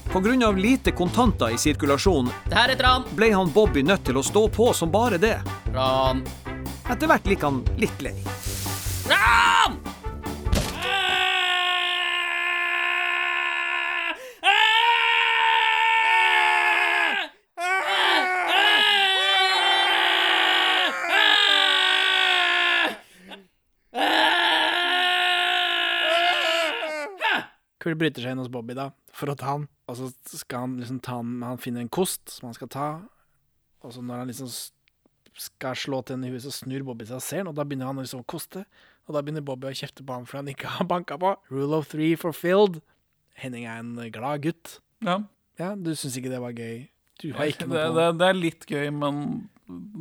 G: Pga. lite kontanter i sirkulasjon
F: Det her er et ran.
G: ble han Bobby nødt til å stå på som bare det.
F: Ran.
G: Etter hvert gikk han litt lei.
F: Ran!
A: Kurt bryter seg inn hos Bobby da, for å ta han. Og så skal han liksom ta han Han finner en kost som han skal ta, og så når han liksom s- skal slå til henne i huet, så snur Bobby seg og ser den, og da begynner han liksom å koste. Og da begynner Bobby å kjefte på ham for han ikke har banka på. Rule of three fulfilled. Henning er en glad gutt.
B: Ja.
A: Du syns ikke det var gøy? Du har ikke
B: det,
A: noe på
B: det, det er litt gøy, men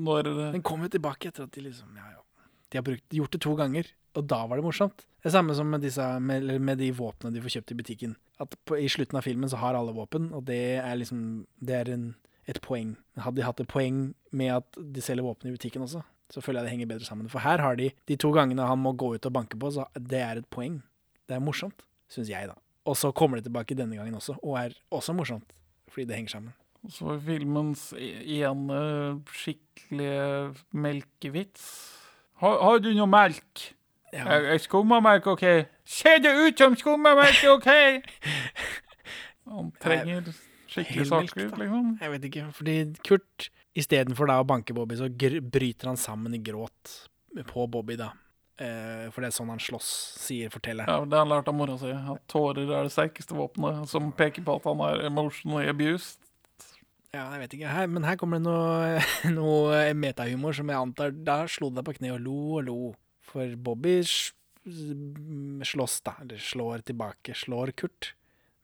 B: når
A: Den kom jo tilbake etter at de liksom Ja, ja. De har brukt, gjort det to ganger, og da var det morsomt. Det samme som med, disse, med, eller med de våpnene de får kjøpt i butikken. At på, I slutten av filmen så har alle våpen, og det er liksom Det er en, et poeng. Hadde de hatt et poeng med at de selger våpen i butikken også, så føler jeg det henger bedre sammen. For her har de de to gangene han må gå ut og banke på, så det er et poeng. Det er morsomt, syns jeg, da. Og så kommer det tilbake denne gangen også, og er også morsomt. Fordi det henger sammen.
B: Så filmens e- ene skikkelige melkevits Har, har du noe melk?
A: Ja.
B: Ja. Skummamelk, OK? Ser det ut som skummamelk, OK? Han trenger skikkelig
A: Helmelk,
B: saker,
A: da.
B: liksom.
A: Jeg vet ikke, fordi Kurt, istedenfor da å banke Bobby, så gr bryter han sammen i gråt på Bobby, da. Eh, for det er sånn han slåss, sier
B: Ja,
A: fortelleren.
B: Det har han lært av mora si, at tårer er det sterkeste våpenet, som peker på at han er emotionally abused.
A: Ja, jeg vet ikke, her, men her kommer det noe, noe metahumor som jeg antar Da slo du deg på kne og lo og lo. For Bobby s- slåss, da. Eller slår tilbake. Slår Kurt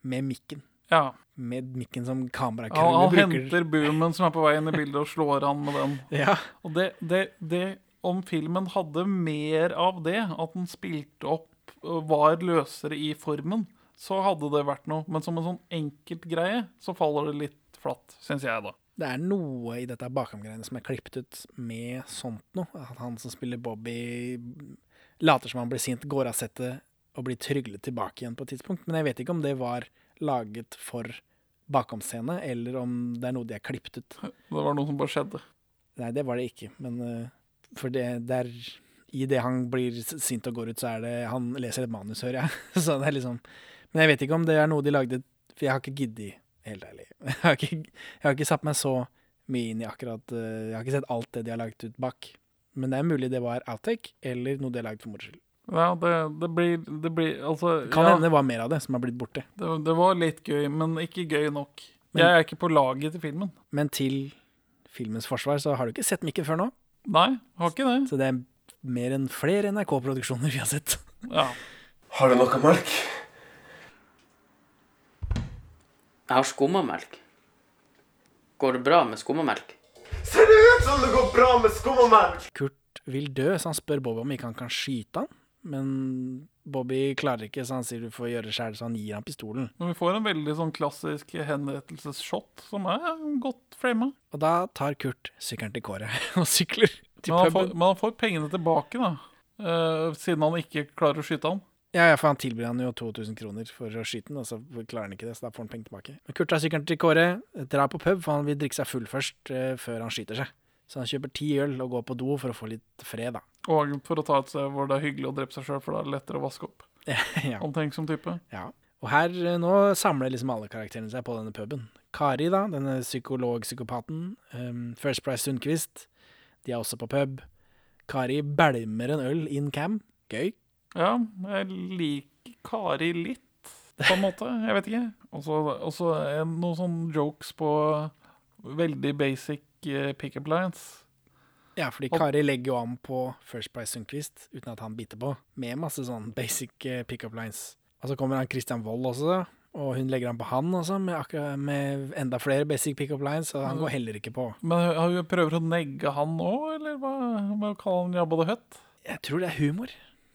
A: med mikken.
B: Ja.
A: Med mikken som
B: Han,
A: kamerakrulle
B: han
A: bruker.
B: henter boomen som er på vei inn i bildet, og slår han med den.
A: Ja.
B: Og det, det, det om filmen hadde mer av det, at den spilte opp og var løsere i formen, så hadde det vært noe. Men som en sånn enkelt greie, så faller det litt flatt, syns jeg, da.
A: Det er noe i dette bakom-greiene som er klippet ut med sånt noe. At han som spiller Bobby, later som han blir sint, går av settet og blir tryglet tilbake igjen på et tidspunkt. Men jeg vet ikke om det var laget for bakom-scene, eller om det er noe de har klippet ut.
B: Det var noe som bare skjedde.
A: Nei, det var det ikke. Men eh, for det der I det han blir s- sint og går ut, så er det Han leser et manus, hører jeg. Så det er liksom Men jeg vet ikke om det er noe de lagde For jeg har ikke giddet, helt ærlig. Jeg har ikke, jeg har ikke satt meg så mye inn i akkurat eh, Jeg har ikke sett alt det de har lagt ut bak. Men det er mulig det var outtake, eller noe de har lagd for moro skyld.
B: Ja, det, det blir Det blir Altså
A: Kan
B: ja,
A: hende det var mer av det som har blitt borte.
B: det, det var litt gøy, men ikke gøy nok.
A: Men-
B: jeg er ikke på laget til filmen.
A: Men til filmens forsvar så har du ikke sett mikken før nå.
B: Nei, har ikke det.
A: Så det er mer enn flere NRK-produksjoner vi har sett.
B: Ja.
I: Har du noe melk?
F: Jeg har skummamelk. Går det bra med skummamelk?
D: Ser det ut som det går bra med skummamelk?
A: Kurt vil dø, så han spør Bobby om ikke han kan skyte han. Men Bobby klarer ikke, så han sier du får gjøre sjæl, så han gir han pistolen.
B: Men vi får en veldig sånn klassisk henrettelsesshot, som er godt frama.
A: Og da tar Kurt sykkelen til kåret og sykler til
B: Men, han får-
A: puben.
B: men han får pengene tilbake, da. eh, siden han ikke klarer å skyte han.
A: Ja, ja, for han tilbyr han jo 2000 kroner for å skyte den, og så klarer han ikke det, så da får han penger tilbake. Men Kurt tar sykkelen til kåret, drar på pub, for han vil drikke seg full først, eh, før han skyter seg. Så han kjøper ti øl og går på do for å få litt fred, da.
B: Og for å ta et sted hvor det er hyggelig å drepe seg sjøl, for da er det lettere å vaske opp.
A: ja.
B: Omtenksom type.
A: Ja. Og her eh, nå samler liksom alle karakterene seg på denne puben. Kari, da, denne psykolog-psykopaten. ehm, First Price Sundquist. De er også på pub. Kari bælmer en øl in cam. Gøy.
B: Ja, jeg liker Kari litt, på en måte. Jeg vet ikke. Og så- Og så er det noen sånne jokes på veldig basic eh, pick-up lines.
A: Ja, fordi
B: Og-
A: Kari legger jo an på First Price Sundquist uten at han biter på, med masse sånn basic eh, pickup lines. Og så kommer han Christian Wold også, og hun legger an på han også, med, akkurat, med enda flere basic pickup lines, og han går heller ikke på.
B: Men hun hun prøver å negge han nå, eller hva? Hva kaller han Jabba the Hutt?
A: Jeg tror det er humor.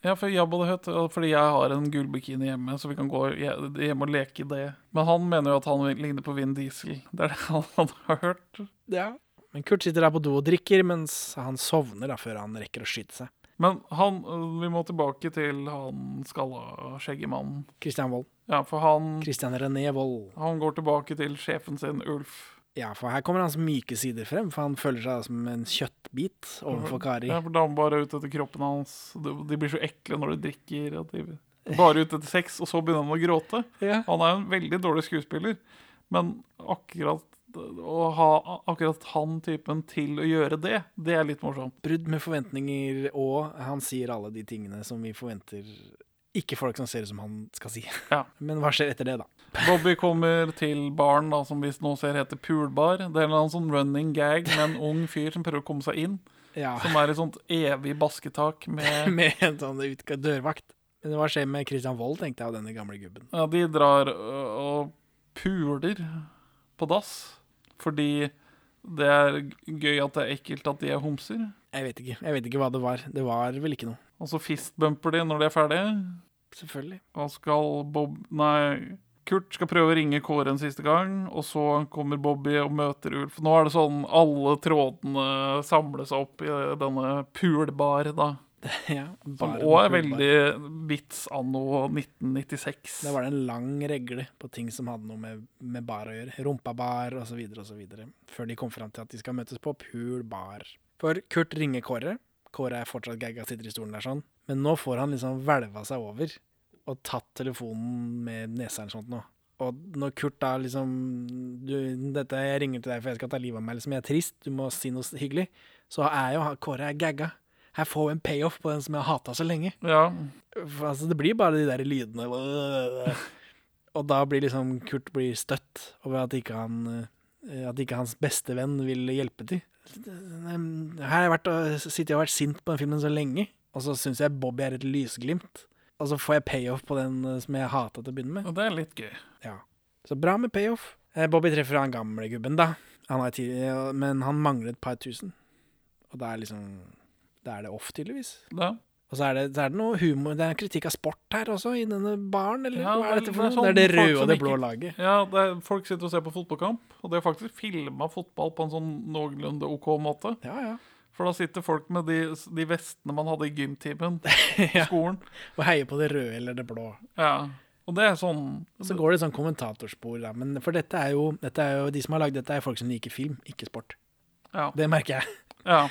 B: Ja, for Jabba the Hutt, ja, fordi jeg har en gul bikini hjemme, så vi kan gå hje- hjemme og leke i det. Men han mener jo at han ligner på Vin Diesel. Det er det han har hørt.
A: Ja. Men Kurt sitter der på do og drikker, mens han sovner da før han rekker å skyte seg.
B: Men han, øh, vi må tilbake til han skalla skjeggemannen.
A: Christian Wold.
B: Ja, for han,
A: Christian René Wold.
B: han går tilbake til sjefen sin, Ulf.
A: Ja, for her kommer hans myke sider frem, for han føler seg som en kjøttbit overfor Kari.
B: Mhm. Ja, for da er han bare ute etter kroppen hans. De, de blir så ekle når de drikker. At de, bare ute etter sex, og så begynner han å gråte.
A: Ja.
B: Han er en veldig dårlig skuespiller, men akkurat å ha akkurat han typen til å gjøre det, det er litt morsomt.
A: Brudd med forventninger, og han sier alle de tingene som vi forventer Ikke folk som ser ut som han skal si.
B: Ja.
A: Men hva skjer etter det, da?
B: Bobby kommer til baren da, som vi nå ser heter Pulbar. Det er en eller annen sånn running gag med en ung fyr som prøver å komme seg inn.
A: Ja.
B: Som er i sånt evig basketak med,
A: med en sånn utga- dørvakt. Men hva skjer med Christian Wold, tenkte jeg, og denne gamle gubben.
B: Ja, de drar ø, og puler på dass. Fordi det er gøy at det er ekkelt at de er homser.
A: Jeg vet ikke jeg vet ikke hva det var. Det var vel ikke noe.
B: Og så fistbumper de når de er ferdige.
A: Selvfølgelig.
B: Og skal Bob Nei, Kurt skal prøve å ringe Kåre en siste gang, og så kommer Bobby og møter Ulf. Nå er det sånn alle trådene samles opp i denne pulbar, da.
A: ja,
B: Som
A: bare
B: òg er
A: pulbar.
B: veldig vits anno 1996.
A: Det var det en lang regle på ting som hadde noe med, med bar å gjøre. Rumpabar osv. osv. Før de kom fram til at de skal møtes på pul bar. For Kurt ringer Kåre. Kåre er fortsatt gagga, sitter i stolen der sånn. Men nå får han liksom hvelva seg over og tatt telefonen med nesa eller sånt nå. Og når Kurt da liksom du, dette, 'Jeg ringer til deg for jeg skal ta livet av meg', liksom. 'Jeg er trist, du må si noe hyggelig', så er jo han- Kåre er gagga. Her får vi en payoff på den som jeg har hata så lenge.
B: Ja.
A: For, altså, det blir bare de der lydene Og da blir liksom Kurt blir støtt over at ikke han eh, At ikke hans beste venn vil hjelpe til. Her har jeg vært og sittet og vært sint på den filmen så lenge, og så syns jeg Bobby er et lysglimt. Og så får jeg payoff på den eh, som jeg hata til å begynne med.
B: Og det er litt gøy.
A: Ja. Så bra med payoff. Eh, Bobby treffer han gamle gubben, da. Han er ti, men han mangler et par tusen. Og da er liksom Da er det off, tydeligvis.
B: Ja.
A: Og så er, det, så er det noe humor Det er kritikk av sport her også, i denne baren, eller
B: Ja,
A: hva er dette for noe?
B: sånn
A: Det er det
B: folk
A: røde
B: som
A: og det
B: ikke-
A: blå laget.
B: Ja, det er, folk sitter og ser på fotballkamp, og de har faktisk filma fotball på en sånn noenlunde OK måte.
A: Ja, ja.
B: For da sitter folk med de, de vestene man hadde i gymtimen på skolen.
A: Og heier på det røde eller det blå.
B: Ja. Og det er sånn
A: Og så går det sånn kommentatorspor, da. Men for dette er jo, dette er jo De som har lagd dette, er folk som liker film, ikke sport.
B: Ja.
A: Det merker jeg.
B: Ja.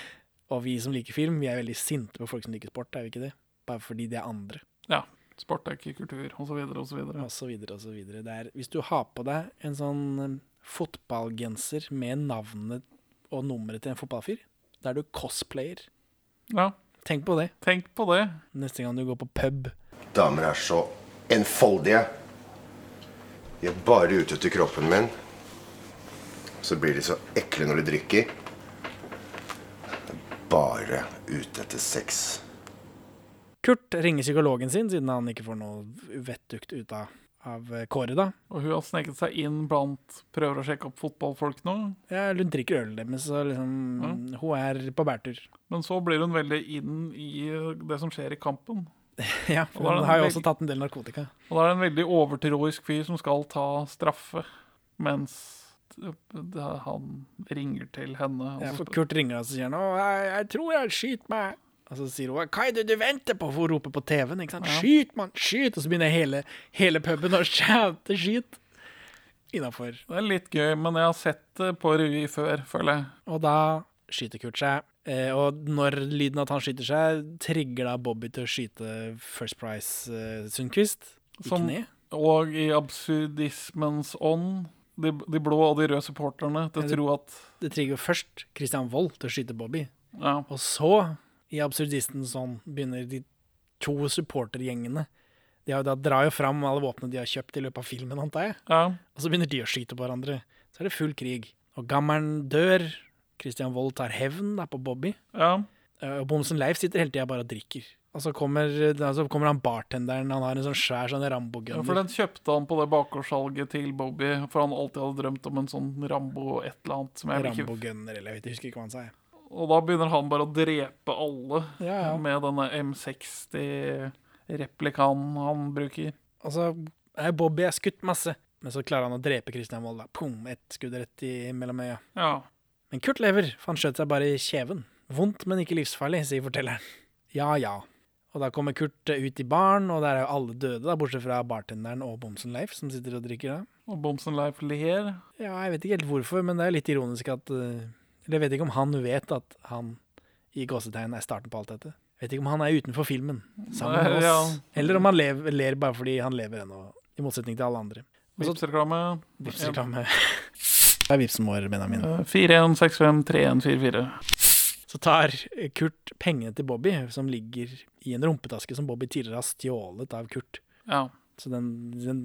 A: Og vi som liker film, vi er veldig sinte på folk som liker sport, er vi ikke det? Bare fordi de er andre,
B: ja. Sport er ikke kultur, osv., osv.
A: og så videre og så videre. Det er, hvis du har på deg en sånn eh, fotballgenser med navnet og nummeret til en fotballfyr, da er du cosplayer.
B: Ja.
A: Tenk på det
B: Tenk på det.
A: neste gang du går på pub.
I: Damer er så enfoldige. De er bare ute etter kroppen min. Så blir de så ekle når de drikker. De er Bare ute etter sex.
A: Kurt ringer psykologen sin, siden han ikke får noe vettugt ut av, av Kåre, da.
B: Og hun har sneket seg inn blant prøver å sjekke opp fotballfolk nå.
A: Ja, hun drikker øl deres, så liksom Hun er på bærtur.
B: Men så blir hun veldig inn i det som skjer i kampen.
A: ja, for
B: Og da er
A: hun
B: det
A: har jo
B: veldig-
A: også tatt en del narkotika.
B: Og da er det en veldig overtroisk fyr som skal ta straffe, mens det, det, han ringer til henne. og
A: Ja,
B: så
A: for
B: spør-
A: Kurt ringer og så sier han 'Å, jeg, jeg tror jeg skyter meg'. Og så sier hun 'Hva er det du venter på?' For hun roper på TV-en. ikke sant? 'Skyt, mann! Skyt!' Og så begynner hele, hele puben å shoute 'skyt' innafor.
B: Det er litt gøy, men jeg har sett det på revy før, føler jeg.
A: Og da skyter Kurt seg. Eh, og når lyden av at han skyter seg, trigger da Bobby til å skyte First Price eh, Sundquist i
B: Som-
A: kne.
B: Og i absurdismens ånd, de, de blå og de røde supporterne, til å
A: det-
B: tro at
A: Det trigger først Christian Wold til å skyte Bobby.
B: ja,
A: Og så, i absurdisten sånn, begynner de to supportergjengene De har, jo da drar jo fram alle våpnene de har kjøpt i løpet av filmen, antar jeg.
B: ja,
A: Og så begynner de å skyte på hverandre. Så er det full krig. Og gammelen dør. Christian Wold tar hevn da på Bobby.
B: ja,
A: Eh, Og Bomsen Leif sitter hele tida bare og drikker. Og så kommer, da, så kommer han bartenderen, han har en sånn svær sånn
B: Ja, For
A: Rambo-gunner.
B: den kjøpte han på det bakgårdssalget til Bobby, for han alltid hadde drømt om en sånn Rambo et eller annet. Som jeg ikke,
A: Rambo-gunner, eller jeg vet jeg husker ikke hva han sa. jeg.
B: og da begynner han bare å drepe alle
A: Ja, ja.
B: med denne M60-replikanen han bruker.
A: Og så er Bobby er skutt masse, men så klarer han å drepe Christian Wold. da. Pum, ett skudd rett i mellom øya.
B: Ja,
A: Men Kurt lever, for han skjøt seg bare i kjeven. Vondt, men ikke livsfarlig, sier fortelleren. Ja, ja. Og da kommer Kurt ut i baren, og der er jo alle døde, da, bortsett fra bartenderen og Bomsen Leif, som sitter og drikker da.
B: Og Bomsen Leif ler.
A: Ja, jeg vet ikke helt hvorfor, men det er litt ironisk at eh, Eller jeg vet ikke om han vet at han i gåsetegn er starten på alt dette. Jeg vet ikke om han er utenfor filmen sammen med
B: Nei,
A: oss,
B: ja.
A: eller om han lever, ler bare fordi han lever ennå, i motsetning til alle andre.
B: Vipps-reklame. Eh,
A: Vipps-reklame. Det er vipsen vår, Benjamin.
B: 41653144.
A: Så tar Kurt pengene til Bobby, som ligger i en rumpetaske som Bobby tidligere har stjålet av Kurt.
B: Ja.
A: Så den, den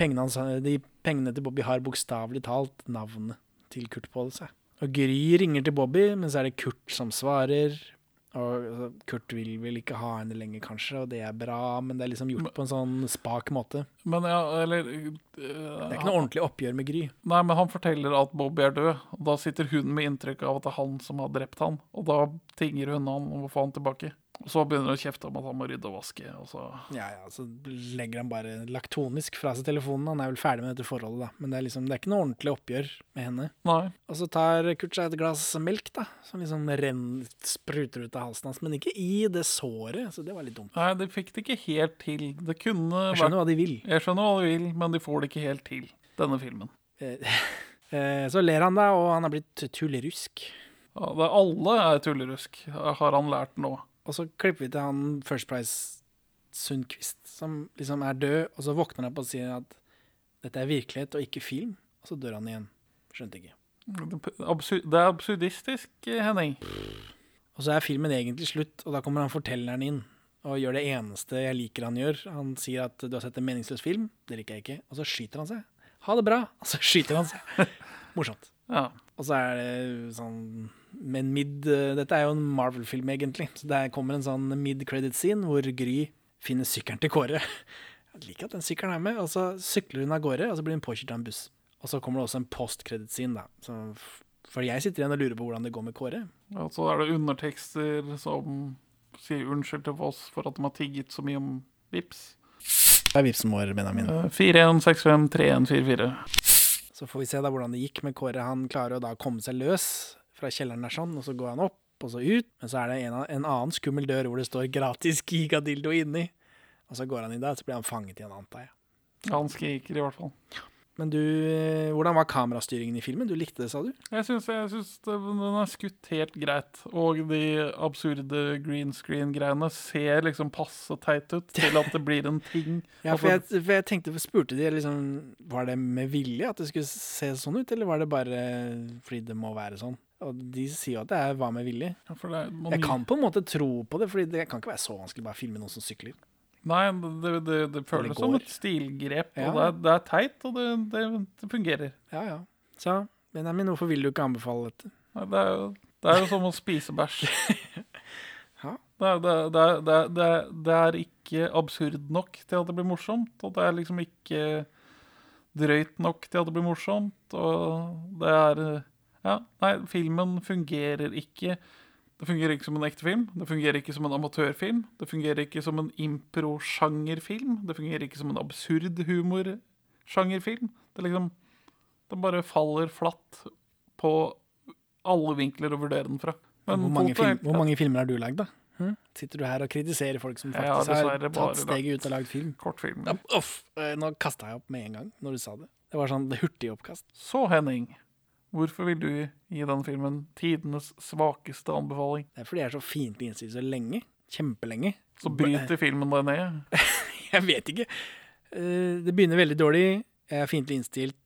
A: pengene hans, de pengene til Bobby har bokstavelig talt navnet til Kurt på seg. Og Gry ringer til Bobby, men så er det Kurt som svarer. Og altså, Kurt vil vel ikke ha henne lenger, kanskje, og det er bra, men det er liksom gjort på en sånn spak måte.
B: Men ja, eller eh,
A: Det er ikke noe ordentlig oppgjør med Gry.
B: Nei, men han forteller at Bobby er død, og da sitter hun med inntrykk av at det er han som har drept han, og da tinger hun han om å få han tilbake. Og så begynner hun å kjefte om at han må rydde og vaske, og så
A: Ja, ja, så legger han bare laktonisk fra seg telefonen. Han er vel ferdig med dette forholdet, da. Men det er liksom, det er ikke noe ordentlig oppgjør med henne.
B: Nei.
A: Og så tar Kurt seg et glass melk, da, som liksom renn, spruter ut av halsen hans. Men ikke i det såret, så det var litt dumt.
B: Nei, de fikk det ikke helt til. Det kunne
A: Jeg skjønner hva de vil.
B: Jeg skjønner hva de vil, men de får det ikke helt til, denne filmen.
A: Eh, eh, Så ler han da, og han har blitt tullerusk.
B: Ja, det er alle er tullerusk, har han lært nå.
A: Og så klipper vi til han First Price Sundquist, som liksom er død, og så våkner han opp og sier at dette er virkelighet og ikke film, og så dør han igjen. Skjønte ikke.
B: Absu- Det er absurdistisk, Henning.
A: Og så er filmen egentlig slutt, og da kommer han fortelleren inn og gjør det eneste jeg liker han gjør. Han sier at du har sett en meningsløs film, det liker jeg ikke, og så skyter han seg. Ha det bra, og så skyter han seg. Morsomt.
B: Ja.
A: Og så er det sånn Men mid Dette er jo en Marvel-film, egentlig. Så det kommer en sånn mid-credit-scene hvor Gry finner sykkelen til Kåre. Jeg liker at den sykkelen er med. Og så sykler hun av gårde, og så blir hun påkjørt av en buss. Og så kommer det også en post-credit-scene, da. Så, for jeg sitter igjen og lurer på hvordan det går med Kåre.
B: Og så er det undertekster som sier unnskyld til oss for at de har tigget så mye om VIPs.
A: Det er vipsen vår, Benjamin.
B: 41653144.
A: Så får vi se da hvordan det gikk med Kåre. Han klarer å da komme seg løs fra kjelleren der sånn, og så går han opp, og så ut. Men så er det en, av- en annen skummel dør hvor det står 'gratis gigadildo' inni. Og så går han inn der, og så blir han fanget igjen, antar jeg.
B: Han skriker i hvert fall.
A: Men du, eh, hvordan var kamerastyringen i filmen? Du likte det, sa du?
B: Jeg syns, jeg syns det- den er skutt helt greit. Og de absurde green screen-greiene ser liksom passe teit ut til at det blir en ting.
A: Ja, for
B: Altså,
A: jeg, for jeg tenkte, for spurte de liksom Var det med vilje at det skulle se sånn ut, eller var det bare fordi det må være sånn? Og de sier jo at det er hva med vilje.
B: ja, for det er- man-
A: Jeg kan på en måte tro på det, for det kan ikke være så vanskelig bare å filme noen som sykler.
B: Nei, det, det, det
A: Eller
B: føles som
A: går.
B: et stilgrep.
A: Ja.
B: Og det er, det er teit, og det, det, det fungerer.
A: Ja, ja. Så Benjamin, hvorfor vil du ikke anbefale dette?
B: Nei, Det er jo, det er jo som å spise bæsj.
A: Ja.
B: Det er, det, er- det, er- det, er- det, er- det er ikke absurd nok til at det blir morsomt, og det er liksom ikke drøyt nok til at det blir morsomt, og det er eh, Ja, nei, filmen fungerer ikke. Det fungerer ikke som en ekte film, det fungerer ikke som en amatørfilm, det fungerer ikke som en impro-sjangerfilm, det fungerer ikke som en absurd humor-sjangerfilm. Det er liksom Det bare faller flatt på alle vinkler å vurdere den fra. Men
A: hvor, mange
B: folk er-
A: film, hvor mange filmer har du lagd, da? Hm? Sitter du her og kritiserer folk som
B: Jeg har
A: faktisk har
B: dessverre bare
A: tatt steget ut og lagd film?
B: kortfilmer.
A: Ja, uff, eh, nå kasta jeg opp med en gang når du sa det. Det var sånn hurtig oppkast.
B: Så, Henning, hvorfor vil du gi den filmen tidenes svakeste anbefaling?
A: Det er fordi jeg er så fiendtlig innstilt så lenge. Kjempelenge.
B: Så bryter filmen deg ned.
A: Jeg vet ikke. Eh, Det begynner veldig dårlig. Jeg er fiendtlig innstilt.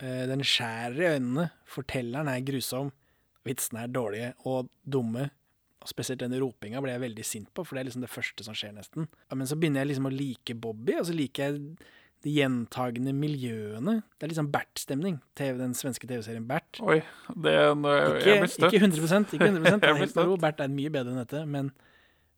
A: Eh, Den skjærer i øynene. Fortelleren er grusom. Vitsene er dårlige og dumme. Og spesielt den ropinga ble jeg veldig sint på, for det er liksom det første som skjer, nesten. Ja, Men så begynner jeg liksom å like Bobby, og så liker jeg de gjentagende miljøene. Det er liksom Bert-stemning. TV, den svenske TV-serien Bert.
B: Oi, det, nå-
A: Ikke,
B: jeg blir støtt.
A: ikke 100 ikke 100 det er
B: Jeg blir
A: helt ro.
B: støtt.
A: Bert er mye bedre enn dette, men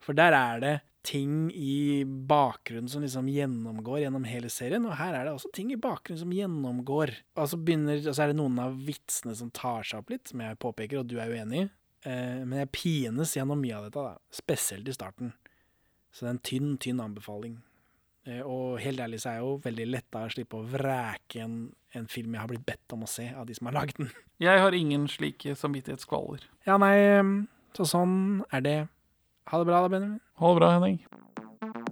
A: for der er det ting i bakgrunnen som liksom gjennomgår gjennom hele serien, og her er det også ting i bakgrunnen som gjennomgår. Og så, begynner, og så er det noen av vitsene som tar seg opp litt, som jeg påpeker, og du er uenig i. Eh, men jeg pines gjennom mye av dette, da. spesielt i starten. Så det er en tynn, tynn anbefaling. Eh, og helt ærlig så er jeg jo veldig letta å slippe å vrake en, en film jeg har blitt bedt om å se av de som har lagd den.
B: Jeg har ingen slike samvittighetskvaler.
A: Ja, nei, så sånn er det. Ha det bra da, Benjamin.
B: Ha det bra, Henning.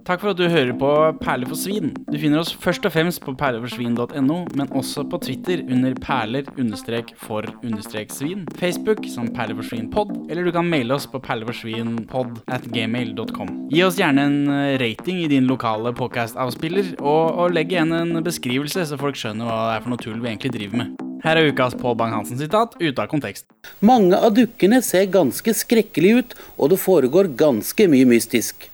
K: Takk for at du hører på Perler for svin. Du finner oss først og fremst på perleforsvin.no, men også på Twitter under perler-for-svin, Facebook som perleforsvinpod, eller du kan maile oss på perleforsvinpod at gmail.com. Gi oss gjerne en eh, rating i din lokale podcast-avspiller, og, og legg igjen en beskrivelse så folk skjønner hva det er for noe tull vi egentlig driver med.
A: Her er ukas Pål Bang-Hansen-sitat ute av kontekst.
F: Mange av dukkene ser ganske skrekkelige ut, og det foregår ganske mye mystisk.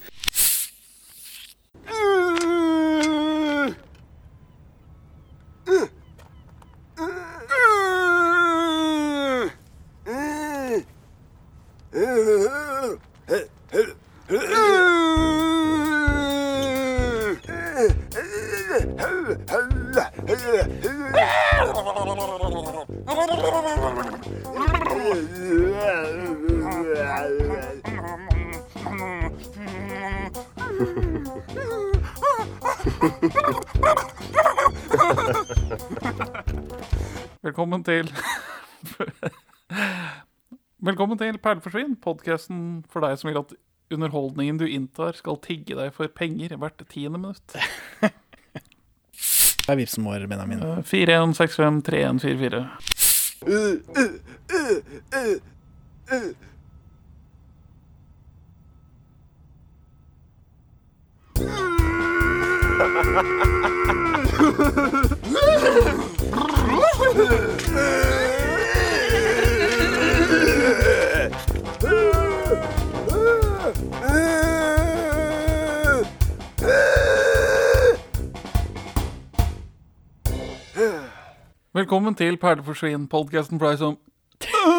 D: Velkommen til Velkommen til Perleforsvinn, podkasten for deg som vil at underholdningen du inntar, skal tigge deg for penger hvert tiende minutt.
L: Det er vipsen vår, Benjamin.
D: 41653144. Velkommen til Perleforsvinn, podkasten for deg som